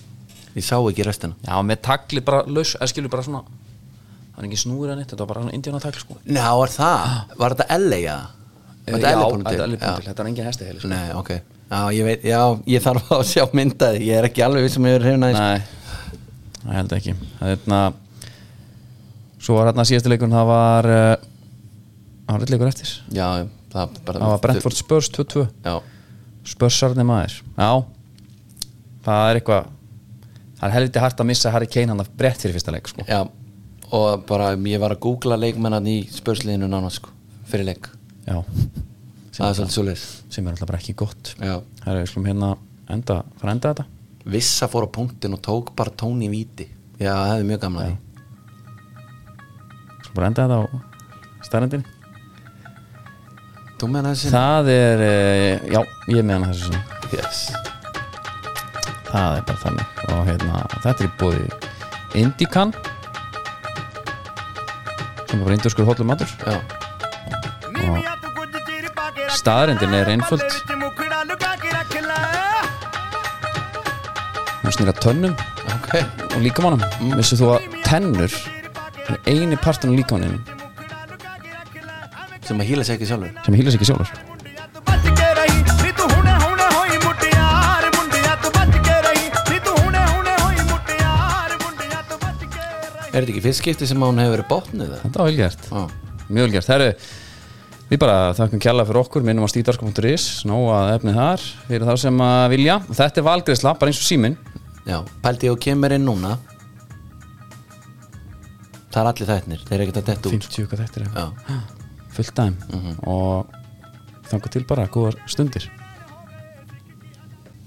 Speaker 2: ég sá ekki restina
Speaker 1: Já, með tagli bara laus, eða skilur bara svona Það er ekki snúður að neitt, þetta var bara indíana tagl sko
Speaker 2: Ná, er það, Ah. var þetta LA eða? Var
Speaker 1: Já,
Speaker 2: LA búin
Speaker 1: þetta
Speaker 2: til?
Speaker 1: er LA búin til,
Speaker 2: Já.
Speaker 1: þetta var engin hesti heili sko.
Speaker 2: Nei, ok Já, ég veit, já, ég þarf að sjá myndaði Ég er ekki alveg við sem ég er hrifin aðeins
Speaker 1: Nei, það held ekki Það er hérna Svo var hérna síðasti leikun, það var uh, Það var eitt leikur eftir
Speaker 2: Já, það bara
Speaker 1: Það var Brentford Spurs 2-2
Speaker 2: Já,
Speaker 1: Spursarni maður Já, það er eitthvað Það er helviti hart að missa Harry Kane hann að brett fyrir fyrsta leik sko
Speaker 2: já Og bara, ég var að googla leikmennan í spörsliðinu nána, sko Fyrir leik
Speaker 1: Já,
Speaker 2: Það er svolítið svolítið
Speaker 1: sem er alltaf bara ekki gott
Speaker 2: Já
Speaker 1: Það er við slum hérna enda, fara að enda þetta
Speaker 2: Vissa fór á punktin og tók bara tóni í víti Já, það hefði mjög gamla því
Speaker 1: Slum bara enda þetta á starrendinni
Speaker 2: Þú með hann aðeins
Speaker 1: Það er, eh, já, ég meðan þessu sinni
Speaker 2: Yes
Speaker 1: Það er bara þannig Og hérna, þetta er í búði Indikan sem er bara induskur hollum matur
Speaker 2: Já,
Speaker 1: Staðrindin er einföld Hún snýra tönnum
Speaker 2: ok
Speaker 1: og líkamannum Vissið þú að tennur er eini partin á líkamanninum
Speaker 2: Sem að hýla sig ekki sjálfur
Speaker 1: sem hýla sig ekki sjálfur
Speaker 6: ਤੂੰ ਹੁਣੇ ਹੁਣੇ ਹੋਈ ਮੁਟਿਆਰ ਮੁੰਡਿਆ ਤੂੰ
Speaker 2: Er þetta ekki fyrst skipti sem hún hefur verið botnið það?
Speaker 1: Þetta var velgjart
Speaker 2: Já.
Speaker 1: Mjög velgjart, herru Við bara þakkum kjalla fyrir okkur, minnum á stítarsko.is Nóa efnið þar, fyrir þá sem að vilja Og Þetta er valgreisla, bara eins og síminn
Speaker 2: Já, pældi ég og kemur inn núna Það er allir þættnir, þeir eru ekkert að detta út
Speaker 1: 50 hvað þetta er
Speaker 2: Já, Mhm.
Speaker 1: fullt dæm Og þangu til bara, góðar stundir